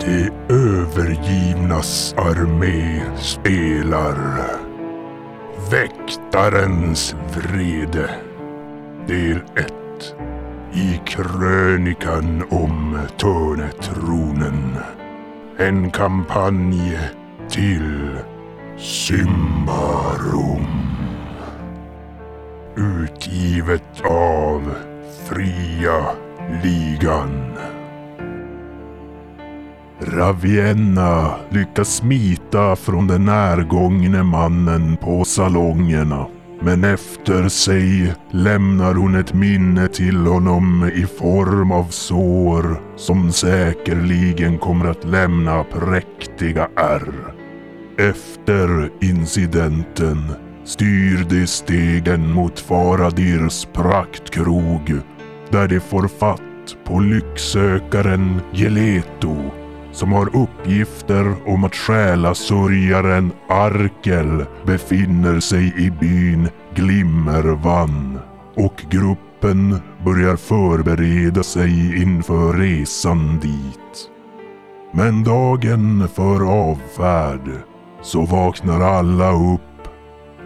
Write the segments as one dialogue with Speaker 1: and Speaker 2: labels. Speaker 1: De övergivnas armé spelar Väktarens vrede Del 1 I krönikan om Törnetronen En kampanj till Symbarum Utgivet av Fria Ligan Ravienna lyckas smita från den närgångne mannen på salongerna. Men efter sig lämnar hon ett minne till honom i form av sår som säkerligen kommer att lämna präktiga ärr. Efter incidenten styr de stegen mot Faradirs praktkrog där de får fatt på lycksökaren Geleto som har uppgifter om att själasörjaren Arkel befinner sig i byn Glimmervann och gruppen börjar förbereda sig inför resan dit. Men dagen för avfärd så vaknar alla upp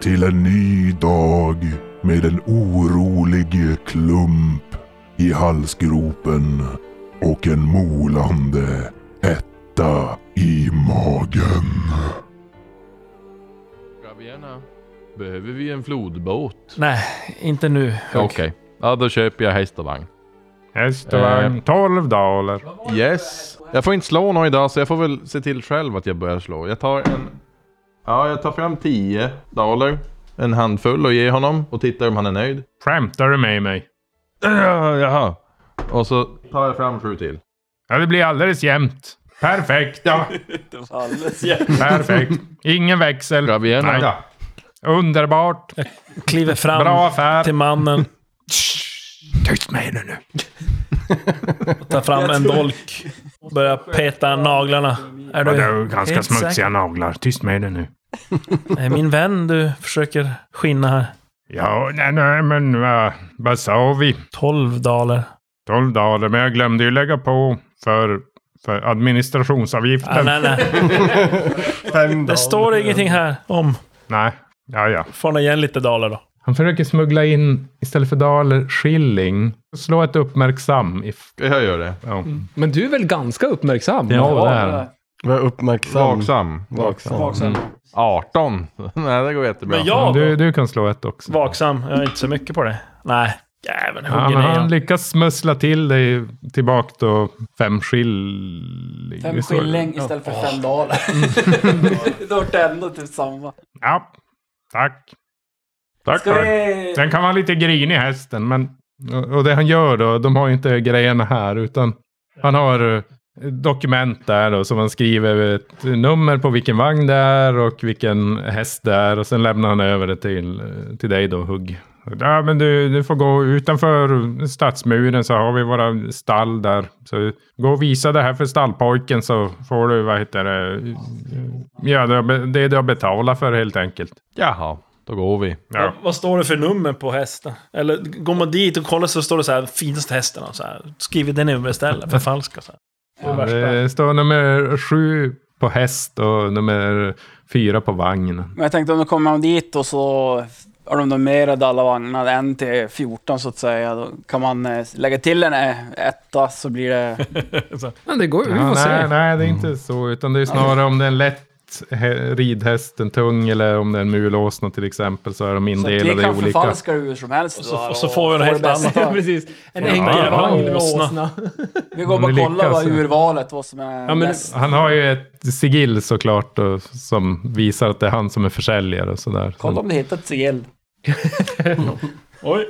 Speaker 1: till en ny dag med en orolig klump i halsgropen och en molande etta i magen.
Speaker 2: Ravienna, behöver vi en flodbåt?
Speaker 3: Nej, inte nu.
Speaker 2: Okej, ja, då köper jag häst och vagn.
Speaker 4: Häst och vagn, 12 daler.
Speaker 2: Yes. Jag får inte slå någon idag så jag får väl se till själv att jag börjar slå. Jag tar en... Ja, jag tar fram 10 daler. En handfull och ger honom och tittar om han är nöjd.
Speaker 4: Skämtar du med mig?
Speaker 2: Ja, Jaha. Och så tar jag fram sju till.
Speaker 4: Ja, det blir alldeles jämnt. Perfekt. Ja,
Speaker 5: Alldeles jävla...
Speaker 4: perfekt. Ingen växel.
Speaker 2: Ravienna.
Speaker 4: Nej. Underbart.
Speaker 3: Kliver fram
Speaker 4: Bra affär.
Speaker 3: till mannen.
Speaker 4: Tyst med er nu.
Speaker 3: Tar fram en dolk. och Börjar peta naglarna. Är
Speaker 4: Ja,
Speaker 3: du,
Speaker 4: det är ju ganska
Speaker 3: helt
Speaker 4: smutsiga
Speaker 3: säker?
Speaker 4: naglar. Tyst med er nu.
Speaker 3: Är min vän du försöker skinna här?
Speaker 4: Ja, nej, nej, men vad, vad sa vi?
Speaker 3: 12 daler.
Speaker 4: 12 daler, men jag glömde ju lägga på för, för
Speaker 3: Ah,
Speaker 4: administrationsavgiften.
Speaker 3: nej, nej. Det står ingenting här om.
Speaker 4: nej. Ja, ja.
Speaker 3: Får ni igen lite daler då.
Speaker 4: Han försöker smuggla in, istället för daler, skilling. Slå ett uppmärksam. If,
Speaker 2: Jag gör det.
Speaker 4: ja.
Speaker 6: Men du är väl ganska uppmärksam?
Speaker 4: Ja,
Speaker 6: Ja.
Speaker 4: där.
Speaker 7: Var uppmärksam.
Speaker 2: Vaksam.
Speaker 7: Vaksam.
Speaker 5: Baksam.
Speaker 2: 18. Nej, det går jättebra.
Speaker 3: Men jag
Speaker 4: Du,
Speaker 3: då?
Speaker 4: du kan slå ett också.
Speaker 3: Vaksam. Jag är inte så mycket på det. Nej. Jäveln
Speaker 4: Ja,
Speaker 3: hugger
Speaker 4: men han
Speaker 3: ner.
Speaker 4: lyckas smussla till dig tillbaka då fem skilling.
Speaker 5: Fem skilling istället för fem daler. det vart ändå typ samma.
Speaker 4: Ja, tack. Tack.
Speaker 5: Ska
Speaker 4: tack.
Speaker 5: vi...
Speaker 4: Den kan vara lite grinig hästen, men och det han gör då, de har ju inte grejerna här, utan han har eh, dokument där då, som han skriver ett nummer på vilken vagn det är och vilken häst det är och sen lämnar han över det till, eh, till dig då, Hugg. Ja, men du, du får gå utanför stadsmuren så har vi våra stall där. Så gå och visa det här för stallpojken så får du, vad heter det, eh, ja, det har- det du har betalat för helt enkelt.
Speaker 2: Jaha, då går vi.
Speaker 4: Ja.
Speaker 3: Vad står det för nummer på hästen? Eller går man dit och kollar så står det så här, finaste hästen. och Så här, skriver det numret istället. Förfalska så här.
Speaker 4: Ja, Det står nummer sju på häst och nummer fyra på vagn.
Speaker 5: Men jag tänkte om du kommer man dit och så har de numrerat alla vagnar, en till 14 så att säga. Då kan man eh, lägga till en eh, etta så blir det...
Speaker 6: Men det går ju, vi
Speaker 4: Ja,
Speaker 6: får
Speaker 4: nej,
Speaker 6: se.
Speaker 4: nej, det är inte så, utan det är snarare om det är en lätt hä- ridhäst, en tung eller om det är en mulåsna till exempel så är de
Speaker 5: Så att vi
Speaker 4: indelade i
Speaker 5: kan
Speaker 4: olika.
Speaker 5: förfalska det hur som helst.
Speaker 3: Och så-
Speaker 5: då,
Speaker 3: och så får vi en
Speaker 5: få
Speaker 3: helt
Speaker 5: det bästa.
Speaker 6: Ja, precis. En
Speaker 4: Ja,
Speaker 6: enkelvagn med
Speaker 3: åsna.
Speaker 6: åsna.
Speaker 5: Vi går
Speaker 4: Om
Speaker 5: bara och
Speaker 4: vi
Speaker 5: kollar vad
Speaker 4: lyckas.
Speaker 5: urvalet, vad som är
Speaker 6: Ja, men-
Speaker 5: bäst.
Speaker 4: Han har ju ett sigill såklart och, som visar att det är han som är försäljare och sådär.
Speaker 5: Kolla om ni hittat ett sigill.
Speaker 3: Oj!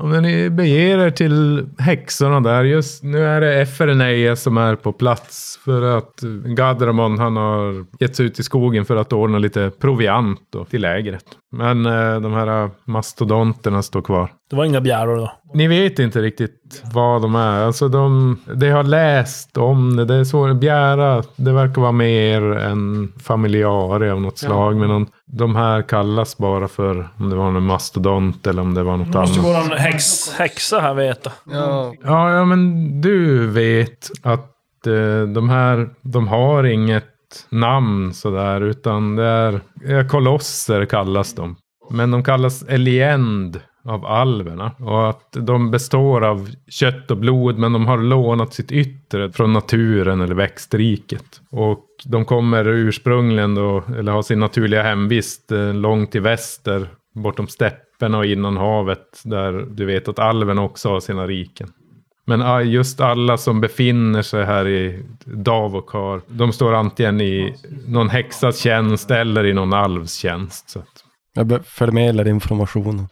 Speaker 4: Om ni beger er till häxorna där. Just nu är det Eferneia som är på plats. För att Gadramon han har gett sig ut i skogen för att ordna lite proviant då, till lägret. Men eh, de här mastodonterna står kvar.
Speaker 3: Det var inga bjärror då.
Speaker 4: Ni vet inte riktigt vad de är. Alltså de, de har läst om det. Det är så, bjära, det verkar vara mer en familjare av något slag. Men de, de här kallas bara för om det var en mastodont eller om det var något annat.
Speaker 3: Måste våran häx, häxa här veta.
Speaker 7: Ja.
Speaker 4: Ja, ja men du vet att att eh, de här, de har inget namn sådär, utan det är eh, kolosser kallas de. Men de kallas Eliend av alverna. Och att de består av kött och blod, men de har lånat sitt yttre från naturen eller växtriket. Och de kommer ursprungligen då, eller har sin naturliga hemvist eh, långt i väster, bortom stepperna och innan havet, där du vet att alverna också har sina riken. Men ah, just alla som befinner sig här i Davokar, de står antingen i någon häxas tjänst eller i någon alvs tjänst. Så att,
Speaker 7: Jag be- förmedlar information.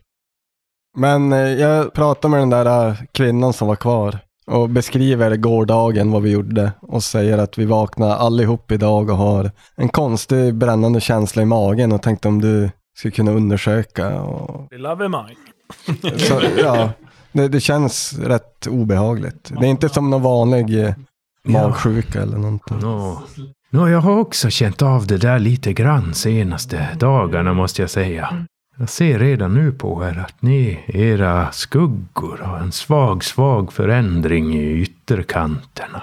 Speaker 7: Men eh, jag pratar med den där eh, kvinnan som var kvar och beskriver gårdagen, vad vi gjorde och säger att vi vaknade allihop idag och har en konstig brännande känsla i magen och tänkte om du skulle kunna undersöka. Och...
Speaker 3: Lavemang.
Speaker 7: Så, ja, det, det känns rätt obehagligt. Det är inte som någon vanlig eh, magsjuka eller någonting.
Speaker 4: nå. Nå, jag har också känt av det där lite grann senaste dagarna måste jag säga. Jag ser redan nu på er att ni, era skuggor, har en svag, svag förändring i ytterkanterna.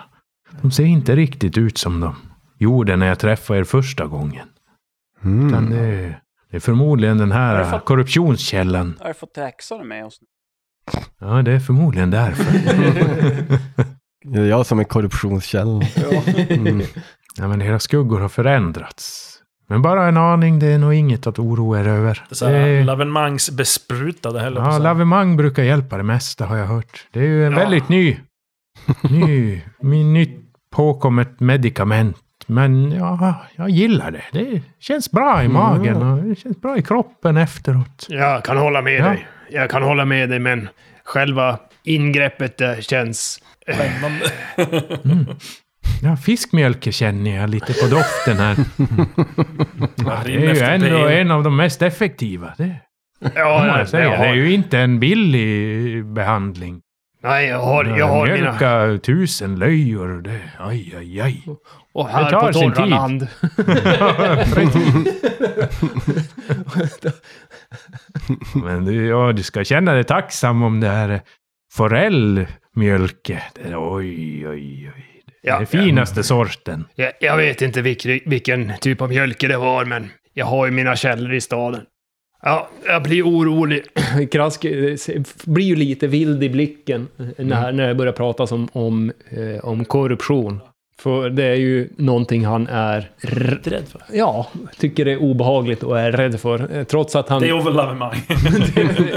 Speaker 4: De ser inte riktigt ut som de gjorde när jag träffade er första gången. Utan
Speaker 7: Mm.
Speaker 4: det, det är förmodligen den
Speaker 5: Har du
Speaker 4: här
Speaker 5: fått-
Speaker 4: korruptionskällan.
Speaker 5: Har vi fått häxorna med oss?
Speaker 4: Ja, det är förmodligen därför.
Speaker 7: Det är jag som är korruptionskällan. Mm.
Speaker 4: ja, men era skuggor har förändrats. Men bara en aning, det är nog inget att oroa er över.
Speaker 3: Det är så här,
Speaker 4: Det-
Speaker 3: Lavemangs besprutade heller
Speaker 4: Ja, lavemang brukar hjälpa det mesta har jag hört. Det är ju en
Speaker 3: Ja.
Speaker 4: väldigt ny, ny, min nytt påkommet medicament. Men ja, jag gillar det. Det känns bra i magen och det känns bra i kroppen efteråt.
Speaker 8: Jag kan hålla med
Speaker 4: Ja.
Speaker 8: dig. Jag kan hålla med dig, men själva ingreppet där känns...
Speaker 3: Spännande.
Speaker 4: Ja, fiskmjölke känner jag lite på doften här. Ja, det är ju
Speaker 3: Efter
Speaker 4: ändå
Speaker 3: det.
Speaker 4: en av de mest effektiva. Det,
Speaker 8: Ja,
Speaker 4: ja, jag säga.
Speaker 8: jag
Speaker 4: det är
Speaker 8: har-
Speaker 4: ju inte en billig behandling.
Speaker 8: Nej, jag har, jag har mina...
Speaker 4: Mjölka tusen löjor. Det, aj, aj, aj.
Speaker 8: Och här
Speaker 4: tar
Speaker 8: på
Speaker 4: sin
Speaker 8: torra
Speaker 4: tid.
Speaker 8: land.
Speaker 4: Men du, ja, du ska känna dig tacksam om det här forellmjölke. Det, oj, oj, oj. Det är
Speaker 8: Ja,
Speaker 4: den finaste sorten.
Speaker 8: Jag, jag vet inte vilk, vilken typ av mjölke det var, men jag har ju mina källor i staden. Ja, jag blir orolig.
Speaker 6: Krask eh, se- blir ju lite vild i blicken när,
Speaker 8: Mm.
Speaker 6: när det börjar pratas om, om, eh, om korruption. För det är ju någonting han är... r-
Speaker 3: Rädd för.
Speaker 6: Ja, tycker det är obehagligt och är rädd för. eh, Trots att han...
Speaker 3: Det är over Lavemang.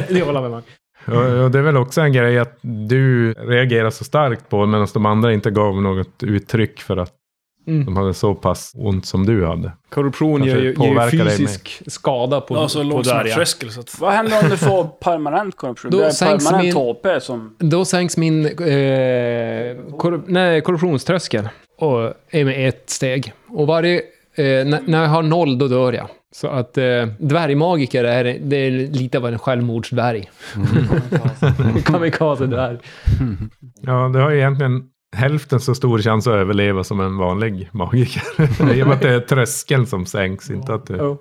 Speaker 6: det håller jag med om.
Speaker 4: Och, och det är väl också en grej att du reagerar så starkt på medan de andra inte gav något uttryck för att
Speaker 6: Mm.
Speaker 4: de hade så pass ont som du hade.
Speaker 6: Korruption
Speaker 4: Kanske
Speaker 6: gör ju, ger ju
Speaker 4: påverkar dig
Speaker 6: fysisk skada på,
Speaker 3: Ja, så
Speaker 6: på
Speaker 3: låg som en
Speaker 6: Darja.
Speaker 3: tröskel. Så att,
Speaker 5: Vad händer om du får permanent korruption?
Speaker 6: Då
Speaker 5: Då är
Speaker 6: sänks
Speaker 5: permanent
Speaker 6: min-
Speaker 5: tåpe som...
Speaker 6: Då sänks min eh, korru- nej, korruptionströskel och är med ett steg. Och varje, eh, när, när jag har noll, då dör jag. Så att eh, dvärgmagiker är, det är lite av en självmordsdvärg. Kamikaze-dvärg.
Speaker 4: Ja, det har ju egentligen hälften så stor chans att överleva som en vanlig magiker. I och med att det är tröskeln som sänks, inte att du
Speaker 6: Ja.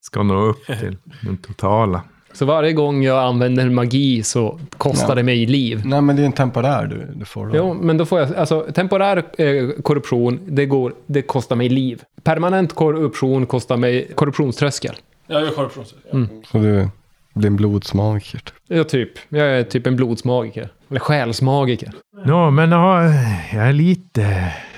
Speaker 4: ska nå upp till den totala.
Speaker 6: Så varje gång jag använder magi så kostar det mig liv.
Speaker 7: Nej men det är en temporär du, du får. Då.
Speaker 6: Jo, men då får jag, alltså temporär eh, korruption, det, går, det kostar mig liv. Permanent korruption kostar mig korruptionströskel.
Speaker 3: jag gör korruption. så- Ja.
Speaker 7: Så du blir en blodsmagiker. typ.
Speaker 6: Ja, typ. Jag är typ en blodsmagiker. Eller själsmagiker.
Speaker 4: Nå, men ja, jag är lite...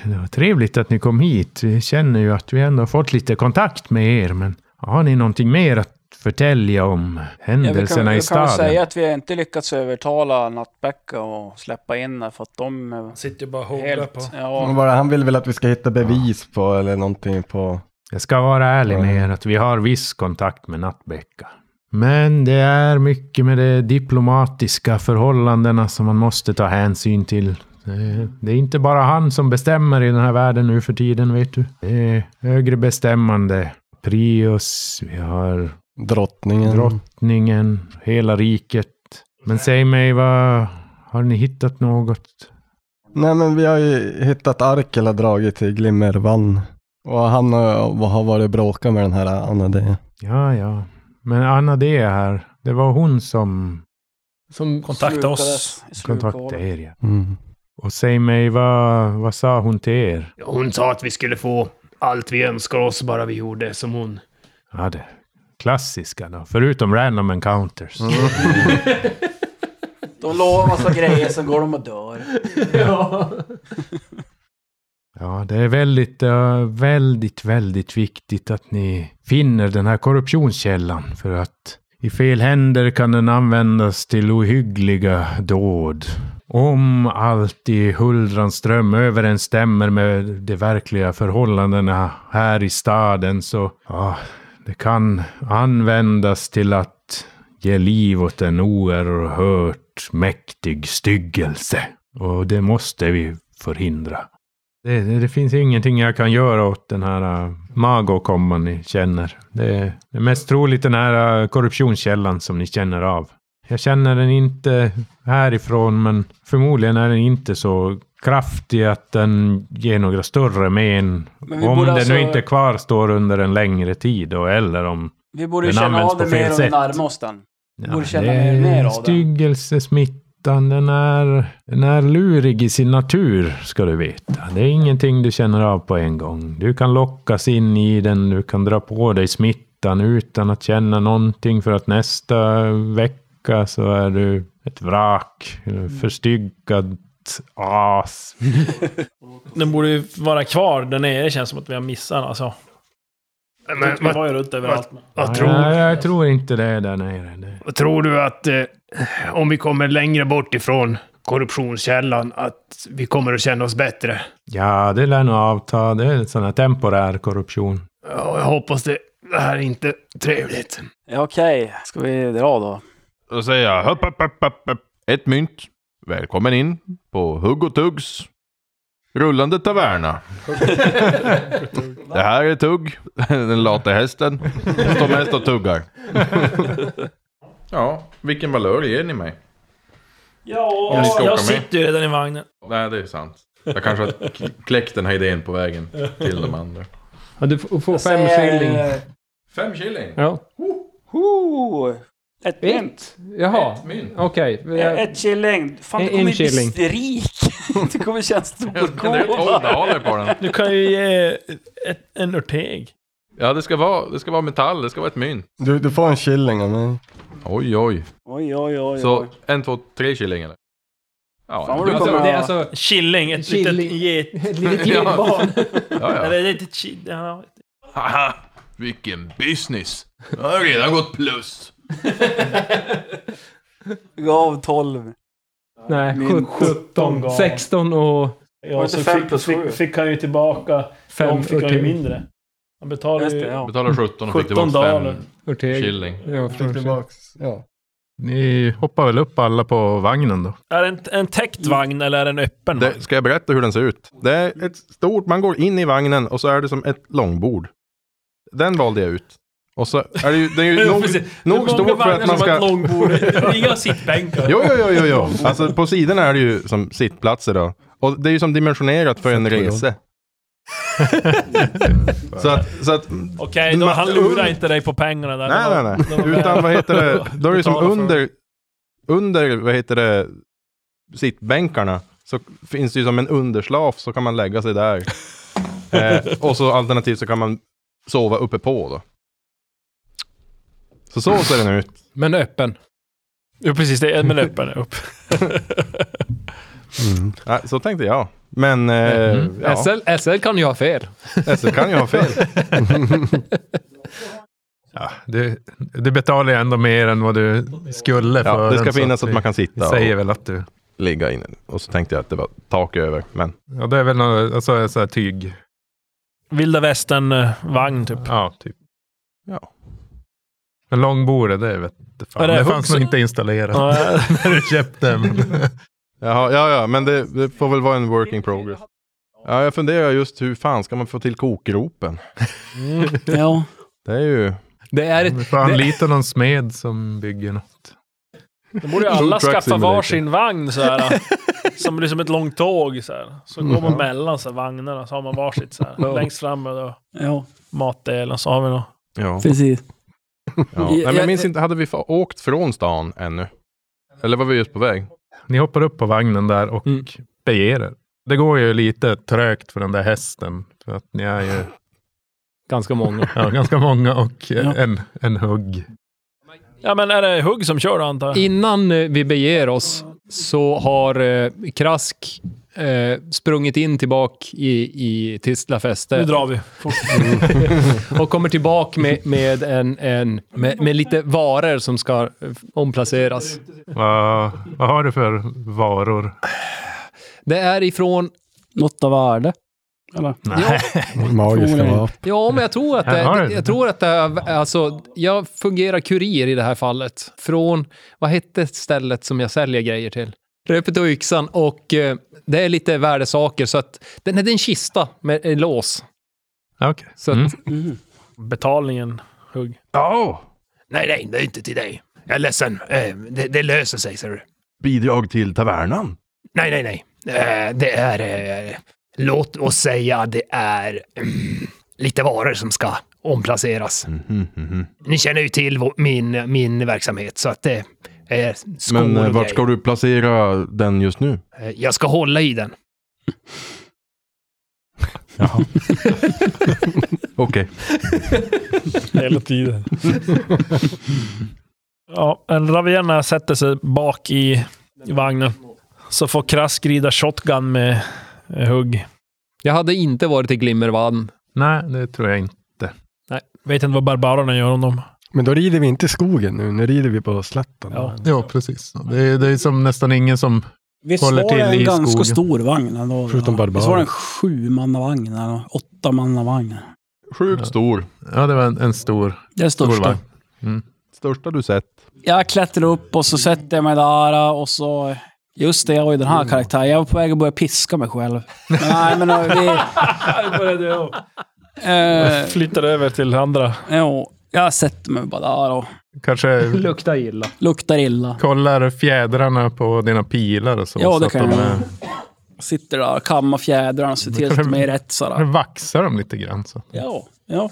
Speaker 4: Det var trevligt att ni kom hit. Vi känner ju att vi ändå har fått lite kontakt med er, men har ni någonting mer att förtälja om
Speaker 5: Ja, vi kan,
Speaker 4: händelserna
Speaker 5: vi
Speaker 4: i
Speaker 5: kan väl
Speaker 4: staden?
Speaker 5: säga att vi inte lyckats övertala Nattbäcka och släppa in här, för att de... är
Speaker 3: Sitter ju bara och hårdar
Speaker 5: Helt,
Speaker 3: på.
Speaker 7: Men
Speaker 5: ja,
Speaker 7: Bara, han vill väl att vi ska hitta bevis på eller någonting på...
Speaker 4: Jag ska vara ärlig med er att vi har viss kontakt med Nattbäcka. Men det är mycket med de diplomatiska förhållandena som man måste ta hänsyn till. Eh, Det är inte bara han som bestämmer i den här världen nu för tiden, vet du. Det är högre bestämmande. Prius, vi har
Speaker 7: Drottningen.
Speaker 4: drottningen, hela riket. Men säg mig, vad har ni hittat något?
Speaker 7: Nej men vi har ju hittat Arkel har dragit till Glimmervann. Och han har, har varit och bråkat med den här Anna D.
Speaker 4: Ja, ja. Men Anna det är här. Det var hon som
Speaker 6: Som
Speaker 3: Kontakta oss.
Speaker 5: slukades i slukhålet.
Speaker 4: kontaktade er. Ja.
Speaker 7: Mm.
Speaker 4: Och säg mig, vad, vad sa hon till er?
Speaker 8: Ja, Hon sa att vi skulle få allt vi önskar oss bara vi gjorde som hon.
Speaker 4: Ja, det klassiska då. Förutom random encounters.
Speaker 5: De lovar massa grejer, sen går de och dör.
Speaker 4: Ja, det är väldigt, eh, väldigt, väldigt viktigt att ni finner den här korruptionskällan. För att i fel händer kan den användas till ohyggliga dåd. Om allt i Huldrans ström överensstämmer med de verkliga förhållandena här i staden så ja, det kan användas till att ge liv åt en oerhört mäktig styggelse. Och det måste vi förhindra. Det, det, det finns ingenting jag kan göra åt den här uh, magokomman ni känner. Det är, det är mest troligt den här uh, korruptionskällan som ni känner av. Jag känner den inte härifrån, men förmodligen är den inte så kraftig att den ger några större men.
Speaker 5: Men vi
Speaker 4: Om
Speaker 5: borde
Speaker 4: den
Speaker 5: alltså-
Speaker 4: nu inte kvarstår under en längre tid då, eller om...
Speaker 5: Vi borde ju
Speaker 4: Den
Speaker 5: känna
Speaker 4: används
Speaker 5: av det
Speaker 4: på fel
Speaker 5: mer och
Speaker 4: sätt.
Speaker 5: närma oss den.
Speaker 4: Ja,
Speaker 5: Borde känna
Speaker 4: det
Speaker 5: mer- mer av den.
Speaker 4: Styggelsesmittan, den är, den är lurig i sin natur, ska du veta. Det är ingenting du känner av på en gång. Du kan lockas in i den, du kan dra på dig smittan utan att känna någonting för att nästa vecka så är du ett vrak, förstyggat as.
Speaker 3: Den borde ju vara kvar där nere. Det känns som att vi har missat den, alltså.
Speaker 8: Men,
Speaker 3: Man
Speaker 8: vad,
Speaker 3: var ju runt överallt. men-
Speaker 8: vad,
Speaker 4: Nej,
Speaker 8: tror,
Speaker 4: jag tror inte det är där nere. Det.
Speaker 8: vad tror du att eh, om vi kommer längre bort ifrån korruptionskällan, att vi kommer att känna oss bättre?
Speaker 4: Ja, det lär nog avta. Det är en sån här temporär korruption.
Speaker 8: Ja, jag hoppas det. Det här är inte trevligt.
Speaker 5: Ja, Okej, ska vi dra då?
Speaker 2: Då säger jag hopp, hopp, hopp, hopp, hopp. Ett mynt. Välkommen in på Hugg och Tuggs rullande taverna. Det här är Tugg, den late hästen. som Står mest och tuggar. Ja, vilken valör ger ni mig?
Speaker 3: Ja,
Speaker 2: Om ni ska åka
Speaker 3: jag
Speaker 2: med.
Speaker 3: sitter ju redan i vagnen.
Speaker 2: Nej, det är sant. Jag kanske har k- kläckt den här idén på vägen till de andra.
Speaker 6: Ja, du f- får fem
Speaker 5: Säger,
Speaker 6: skilling.
Speaker 5: eh,
Speaker 2: Fem shilling?
Speaker 6: Ja.
Speaker 5: ho, ett mynt.
Speaker 6: Jaha,
Speaker 2: Ett mynt.
Speaker 6: okej. Alltså,
Speaker 5: Eh, Ett killing. Fan,
Speaker 6: En-
Speaker 5: du kommer
Speaker 6: en
Speaker 5: ju
Speaker 6: killing.
Speaker 5: bli rik. Du kommer känna
Speaker 2: Jag spenderar
Speaker 5: storgåva.
Speaker 2: 12 daler på den.
Speaker 3: Du kan ju ge ett, en örteg.
Speaker 2: Ja, det ska, vara, det ska vara metall, det ska vara ett mynt.
Speaker 7: Du, du får en shilling av mig.
Speaker 2: Oj, oj.
Speaker 5: Oj, oj, oj.
Speaker 2: Så
Speaker 5: oj.
Speaker 2: en, två, tre shilling eller? Ja,
Speaker 5: Fan vad
Speaker 2: det-
Speaker 5: du kommer
Speaker 6: Det är
Speaker 5: att-
Speaker 6: alltså
Speaker 3: Killing, ett litet
Speaker 6: Killing.
Speaker 3: get.
Speaker 6: ett litet julbarn.
Speaker 2: ja, ja.
Speaker 3: Eller ett litet ki- ja,
Speaker 2: Haha, vilken business! Jag har redan gått plus.
Speaker 5: Gav 12.
Speaker 6: Nej,
Speaker 5: Min
Speaker 6: 17,
Speaker 3: 17 gång.
Speaker 6: 16 och
Speaker 3: Ja,
Speaker 5: Var det
Speaker 3: så
Speaker 5: inte fem
Speaker 3: fick,
Speaker 5: plus sju?
Speaker 3: fick, fick han ju tillbaka.
Speaker 6: fem
Speaker 3: de fick han ju
Speaker 6: örtig-
Speaker 3: mindre. Han betalade
Speaker 5: Just
Speaker 3: ju...
Speaker 5: det, ja.
Speaker 2: Betalar 17 och fick
Speaker 3: 17
Speaker 2: tillbaka
Speaker 3: daler.
Speaker 2: 5
Speaker 6: örteg.
Speaker 2: shilling.
Speaker 6: Ja,
Speaker 7: Fick
Speaker 6: förstås.
Speaker 7: tillbaks. Ja.
Speaker 4: Ni hoppar väl upp alla på vagnen då?
Speaker 3: Är det en, en täckt vagn eller är det en öppen vagn?
Speaker 2: Det, ska jag berätta hur den ser ut? Det är ett stort, man går in i vagnen och så är det som ett långbord. Den valde jag ut. Och så är det ju, den är ju nog,
Speaker 3: Precis.
Speaker 2: nog
Speaker 3: Det är
Speaker 2: stor
Speaker 3: många
Speaker 2: för att
Speaker 3: vagnar
Speaker 2: man
Speaker 3: som har
Speaker 2: ska...
Speaker 3: ett långbord. Det är Inga sittbänkar.
Speaker 2: Jo, jo, jo, jo, jo. Alltså på sidorna är det ju som sittplatser då. Och det är ju som dimensionerat för en resa. så att, så att
Speaker 3: Okej, då, han lurar inte dig på pengarna där.
Speaker 2: Nej,
Speaker 3: Det var-
Speaker 2: nej,
Speaker 3: det var
Speaker 2: nej. Utan vad heter det, då är det som
Speaker 3: Betala för-
Speaker 2: under, under, vad heter det, sittbänkarna så finns det ju som en underslaf så kan man lägga sig där. eh, och så alternativt så kan man sova uppe på då. Så så ser den ut.
Speaker 6: Men öppen.
Speaker 3: Jo, precis. Det är en minut bara upp.
Speaker 7: Mm.
Speaker 2: Nej, så tänkte jag. Men eh,
Speaker 3: Mhm.
Speaker 6: mm.
Speaker 2: ja,
Speaker 6: SL, SL kan ju ha fel.
Speaker 2: SL kan ju ha fel.
Speaker 4: Ja, du, du betalar ju ändå mer än vad du skulle för
Speaker 2: Ja, det ska
Speaker 4: den,
Speaker 2: finnas att man kan
Speaker 4: vi
Speaker 2: sitta och
Speaker 4: säger väl att du...
Speaker 2: ligga inne. Och så tänkte jag att det var tak över. Men
Speaker 4: Ja, det är väl någon, alltså, så här tyg.
Speaker 3: Vilda västern-vagn, typ.
Speaker 4: Ja, typ.
Speaker 2: Ja.
Speaker 4: Men långbordet, det vet du fan.
Speaker 3: Är
Speaker 4: Det,
Speaker 3: det
Speaker 4: fanns
Speaker 3: också-
Speaker 4: nog inte installerat
Speaker 3: Ja,
Speaker 4: när du köpte den.
Speaker 2: Jaha, ja, ja, men det, det får väl vara en working progress. Ja, jag funderar just hur fan ska man få till kokgropen?
Speaker 5: Ja.
Speaker 2: Det är ju...
Speaker 6: Det är ett...
Speaker 4: Vi får
Speaker 6: Det-
Speaker 4: anlita någon smed som bygger något.
Speaker 3: Då borde ju
Speaker 2: Food
Speaker 3: alla
Speaker 2: truck
Speaker 3: skaffa
Speaker 2: simulator.
Speaker 3: varsin vagn så här. Som blir som ett långt tåg så här. Så går
Speaker 2: Mm.
Speaker 3: man mellan så här, vagnarna så har man varsitt så här. Längst fram är då
Speaker 5: Ja,
Speaker 3: matdelen så har vi då.
Speaker 2: Ja.
Speaker 5: precis.
Speaker 2: ja. Nej, men jag minns inte, hade vi fa- åkt från stan ännu? Eller var vi just på väg?
Speaker 4: Ni hoppar upp på vagnen där och
Speaker 6: Mm.
Speaker 4: beger er. Det går ju lite trögt för den där hästen. För att ni är ju
Speaker 6: Ganska många.
Speaker 4: ja, ganska många och eh,
Speaker 5: Ja.
Speaker 4: en, en hugg.
Speaker 3: Ja, men är det Hugg som kör då, antar jag?
Speaker 6: Innan eh, vi beger oss så har eh, Krask eh, sprungit in tillbaka i, i Tistla fäste.
Speaker 3: Nu drar vi. Fort.
Speaker 6: Och kommer tillbaka med, med, en, en, med, med lite varor som ska eh, omplaceras.
Speaker 4: Vad, vad har du för varor?
Speaker 6: Det är ifrån...
Speaker 5: Något av värde.
Speaker 6: Ja,
Speaker 7: Magiska
Speaker 5: Troligen.
Speaker 7: vapen.
Speaker 6: ja, men jag tror att
Speaker 4: Här har du
Speaker 6: det,
Speaker 4: det.
Speaker 6: jag tror att det är, alltså, jag fungerar kurir i det här fallet. Från, vad hette stället som jag säljer grejer till? Röpet och yxan och eh, det är lite värdesaker så att den är en kista med eh, lås.
Speaker 4: Okej.
Speaker 6: Så att,
Speaker 4: Mm.
Speaker 3: Betalningen, Hugg.
Speaker 8: Ja. Nej, nej, det är inte till dig. Jag är ledsen. Eh, det, det löser sig, ser du.
Speaker 2: Bidrag till tavernan.
Speaker 8: Nej, nej, nej. Eh, det är... Eh, låt oss säga det är mm, lite varor som ska omplaceras.
Speaker 2: Mhm, mhm.
Speaker 8: Ni känner ju till vår- min, min verksamhet, så att det är skor
Speaker 2: Men eh,
Speaker 8: och
Speaker 2: vart ska
Speaker 8: grejer.
Speaker 2: du placera den just nu?
Speaker 8: Eh, Jag ska hålla i den.
Speaker 2: Okej.
Speaker 3: Hela tiden. ja, en Ravienna sätter sig bak i, i vagnen. Så får Krask rida shotgun med eh, Hugg.
Speaker 6: jag hade inte varit i Glimmervann.
Speaker 4: Nej, det tror jag inte.
Speaker 3: Vet inte vad barbarerna gör om dem.
Speaker 7: Men då rider vi inte i skogen nu, nu rider vi på slätten.
Speaker 3: Ja.
Speaker 4: Ja, precis. Det är, det är som nästan ingen som...
Speaker 5: Visst
Speaker 4: Håller
Speaker 5: var
Speaker 4: till
Speaker 5: det en
Speaker 4: i
Speaker 5: ganska
Speaker 4: skogen.
Speaker 5: stor vagn ändå?
Speaker 7: Förutom barbarer.
Speaker 5: Visst var det en sjumannavagn eller åttamannavagn?
Speaker 2: Sjukt
Speaker 4: Ja.
Speaker 2: stor.
Speaker 4: Ja, det var en, en stor,
Speaker 5: Den
Speaker 4: stor
Speaker 5: största.
Speaker 4: vagn. Mm.
Speaker 2: Största du sett.
Speaker 5: Jag klättrar upp och så sätter jag mig där och så... Just det, jag var ju den här karaktären. Jag var på väg att börja piska mig själv. Men nej, men eh, vi... Eh,
Speaker 3: Flyttar över till andra.
Speaker 5: jo, jag sätter mig bara där och
Speaker 4: Kanske
Speaker 6: Luktar illa.
Speaker 5: luktar illa.
Speaker 4: kollar fjädrarna på dina pilar och så.
Speaker 5: Ja,
Speaker 4: så
Speaker 5: det
Speaker 4: att
Speaker 5: kan
Speaker 4: de
Speaker 5: jag
Speaker 4: är-
Speaker 5: Sitter där, kammar fjädrarna och ser till att de är rätt sådär.
Speaker 4: Vaxar dem lite grann. Så.
Speaker 5: Ja, ja.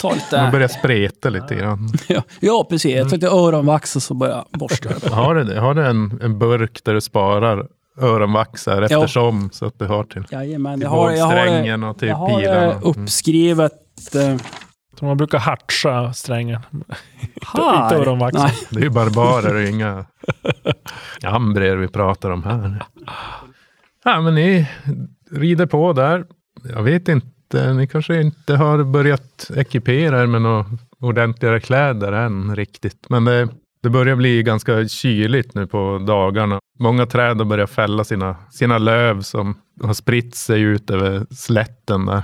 Speaker 5: Ta
Speaker 4: De
Speaker 5: lite...
Speaker 4: börjar spreta lite grann.
Speaker 5: Ja, ja precis. Jag tar lite öronvax och så börjar jag borsta. det.
Speaker 4: Har du, det? har du en, en burk där du sparar öronvaxar
Speaker 5: Ja.
Speaker 4: eftersom så att du har till,
Speaker 5: Jajamän,
Speaker 4: till
Speaker 5: jag har, jag har, det-
Speaker 4: bågsträngen och
Speaker 2: typ,
Speaker 4: till
Speaker 5: jag har eh,
Speaker 4: pilarna? Mm.
Speaker 5: det
Speaker 2: Mm.
Speaker 5: uppskrivet... Eh,
Speaker 3: Som man brukar hartsa strängen.
Speaker 5: här.
Speaker 3: Inte öronvax.
Speaker 5: Nej.
Speaker 4: Det är ju barbarer och inga ambrer vi pratar om här. Ja, men ni rider på där. Jag vet inte, ni kanske inte har börjat ekipera er med några ordentligare kläder än riktigt. Men det, det börjar bli ganska kyligt nu på dagarna. Många träd har börjat fälla sina, sina löv som har spritt sig ut över slätten där.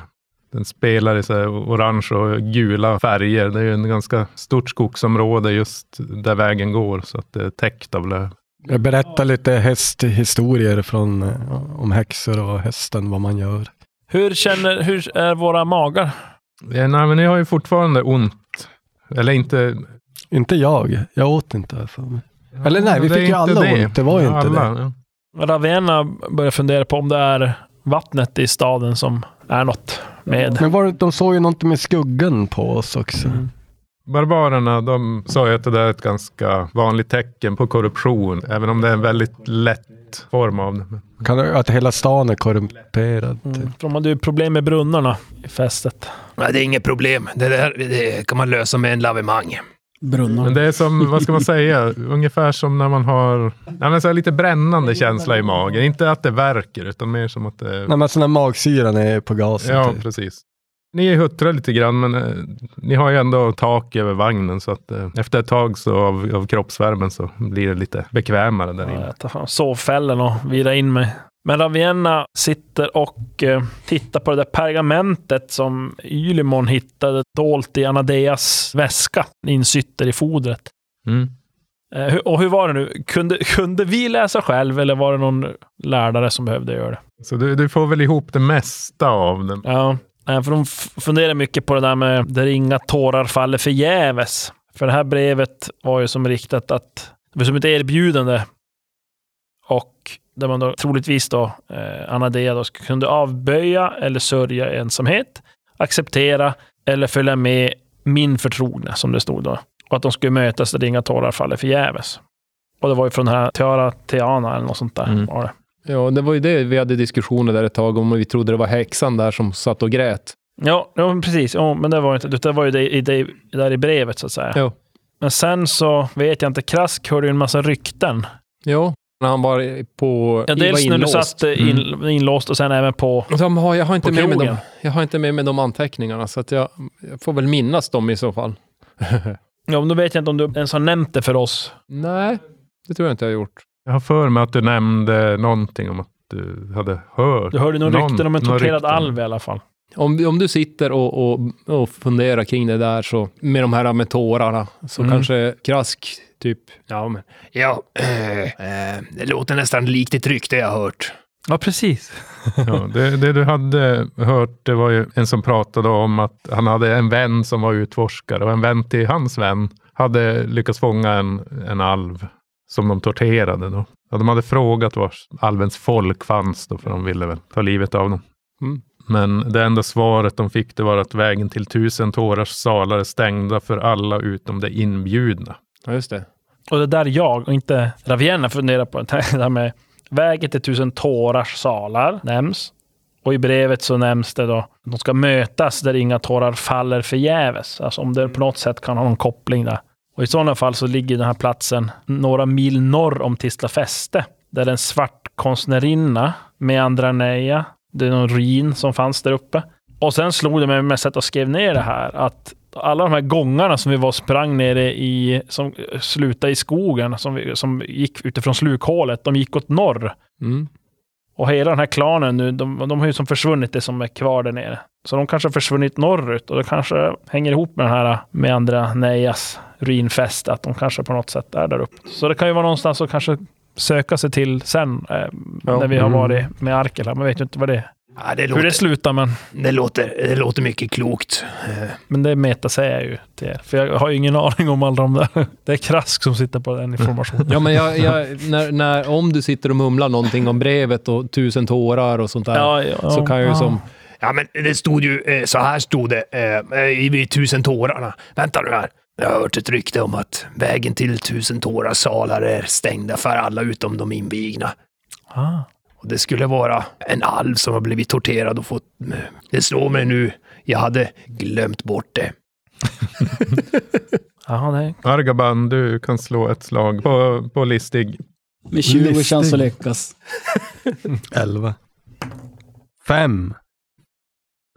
Speaker 4: Den spelar i så här orange och gula färger. Det är ju en ganska stort skogsområde just där vägen går, så att det är täckt av löv.
Speaker 7: Jag berättar lite hästhistorier från, eh, om häxor och hästen, vad man gör.
Speaker 3: Hur känner, hur är våra magar?
Speaker 4: Eh, Nej, men ni har ju fortfarande ont. Eller inte...
Speaker 7: Inte jag, jag åt inte här för mig. Eller nej, vi
Speaker 4: Det är
Speaker 7: fick ju
Speaker 4: inte
Speaker 7: alla ont, det var ju inte
Speaker 4: alla,
Speaker 7: det.
Speaker 4: ja.
Speaker 3: Ravienna börjar fundera på om det är vattnet i staden som är något med.
Speaker 7: Men var det, de såg ju någonting med skuggan på oss också.
Speaker 4: Barbarerna, de sa ju att det där är ett ganska vanligt tecken på korruption, även om det är en väldigt lätt form av det. Men
Speaker 7: Kan, det- att hela stan är korrumperad.
Speaker 3: Mm.
Speaker 7: Typ.
Speaker 3: För de hade ju problem med brunnarna i fästet.
Speaker 8: Nej, det är inget problem. Det där det kan man lösa med en lavemang.
Speaker 4: Men
Speaker 5: Brunnar.
Speaker 4: det är som, vad ska man säga, ungefär som när man har ja, men så här lite brännande känsla i magen. Inte att det värker, utan mer som att det
Speaker 7: Nej men alltså när magsyran är på gasen.
Speaker 4: Ja,
Speaker 7: typ.
Speaker 4: precis. Ni är huttrade lite grann, men eh, ni har ju ändå tak över vagnen, så att eh, efter ett tag så av, av kroppsvärmen så blir det lite bekvämare där
Speaker 3: Ja,
Speaker 4: inne.
Speaker 3: jag tar Eh, fram sovfällen och vira in mig. Men Ravienna sitter och eh, tittar på det där pergamentet som Ylimon hittade dolt i Anadeas väska, insytter i fodret.
Speaker 4: Mm.
Speaker 3: Eh, hur- och hur var det nu? Kunde, kunde vi läsa själv eller var det någon lärare som behövde göra det?
Speaker 4: Så du, du får väl ihop det mesta av den.
Speaker 3: Ja, eh, för de f- funderar mycket på det där med där inga tårar faller förgäves. För det här brevet var ju som riktat att det var som ett erbjudande. Och där man då troligtvis då, eh, Anadea då, sk- kunde avböja eller sörja ensamhet, acceptera eller följa med min förtrogna, som det stod då. Och att de skulle mötas där inga tårar faller förgäves. Och det var ju från den här Teara Teana eller något sånt där.
Speaker 4: Mm.
Speaker 3: Var det.
Speaker 6: Ja, det var ju det vi hade diskussioner där ett tag om och vi trodde det var häxan där som satt och grät.
Speaker 3: Ja, ja men precis. Ja, men det var, inte, det var ju det, i det, där i brevet, så att säga.
Speaker 6: Ja.
Speaker 3: Men sen så vet jag inte. Krask hörde ju en massa rykten.
Speaker 6: Ja, när han var på...
Speaker 3: Ja,
Speaker 6: i- var
Speaker 3: dels när du
Speaker 6: inlåst.
Speaker 3: satt eh, in, inlåst och sen även på...
Speaker 6: De har, jag, har inte
Speaker 3: På
Speaker 6: med mig
Speaker 3: krogen.
Speaker 6: dem, jag har inte med mig de anteckningarna, så att jag, jag får väl minnas dem i så fall.
Speaker 3: Ja, men då vet jag inte om du ens har nämnt det för oss.
Speaker 6: Nej, det tror jag inte jag har gjort.
Speaker 4: Jag har för mig att du nämnde någonting om att du hade hört.
Speaker 3: Du hörde nog
Speaker 4: Någon-
Speaker 3: rykten om en
Speaker 4: några
Speaker 3: torterad
Speaker 4: rykten.
Speaker 3: alv i alla fall.
Speaker 6: Om, om du sitter och, och, och funderar kring det där så, med de här med tårarna, så
Speaker 3: Mm.
Speaker 6: kanske krask, typ.
Speaker 8: Ja, men... Ja, eh, eh, det låter nästan likt ett rykte jag hört.
Speaker 3: Ja, precis.
Speaker 4: Ja, det, det du hade hört det var ju en som pratade om att han hade en vän som var utforskare och en vän till hans vän hade lyckats fånga en, en alv som de torterade. Då. Ja, de hade frågat var alvens folk fanns då, för de ville väl ta livet av dem.
Speaker 6: Mm.
Speaker 4: Men det enda svaret de fick det var att vägen till tusen tårars salar är stängda för alla utom de inbjudna.
Speaker 6: Ja, just det.
Speaker 3: Och det där jag och inte Ravienna funderar på, det här med vägen till tusen tårars salar nämns. Och i brevet så nämns det då att de ska mötas där inga tårar faller förgäves. Alltså om det på något sätt kan ha någon koppling där. Och i sådana fall så ligger den här platsen några mil norr om Tisla fäste. Där en svart konstnärinna med Andraneia, det är någon ruin som fanns där uppe. Och sen slog det mig med sätt att skrev ner det här att alla de här gångarna som vi var och sprang nere i, som slutade i skogen, som, vi, som gick utifrån slukhålet, de gick åt norr.
Speaker 6: Mm.
Speaker 3: Och hela den här klanen nu, de, de har ju som försvunnit det som är kvar där nere. Så de kanske har försvunnit norrut och det kanske hänger ihop med den här med andra Nejas ruinfäste, att de kanske på något sätt är där uppe. Så det kan ju vara någonstans att kanske söka sig till sen, eh, när vi har varit med Arkel här. Man vet ju inte vad det är.
Speaker 8: Ja, det,
Speaker 3: Hur
Speaker 8: låter,
Speaker 3: det slutar, men,
Speaker 8: det, låter, det låter mycket klokt.
Speaker 3: men det meta säger jag ju till er. För jag har ju ingen aning om alla de där. Det är Krask som sitter på den informationen.
Speaker 6: Ja, men jag, jag, när, när, om du sitter och mumlar någonting om brevet och tusen tårar och sånt där,
Speaker 3: ja,
Speaker 6: så kan jag ju
Speaker 9: Ah.
Speaker 3: ja.
Speaker 6: som...
Speaker 8: Ja, men det stod ju, eh, så här stod det eh, i i Tusen tårarna. Vänta nu här. Jag har hört ett rykte om att vägen till Tusen tårars salar är stängda för alla utom de invigna.
Speaker 3: Ah.
Speaker 8: Och det skulle vara en alv som har blivit torterad och fått... Det slår mig nu. Jag hade glömt bort det.
Speaker 3: Ja, det är
Speaker 4: Argaban, du kan slå ett slag på, på listig.
Speaker 9: Med 20 chans att lyckas.
Speaker 7: Elva. Fem.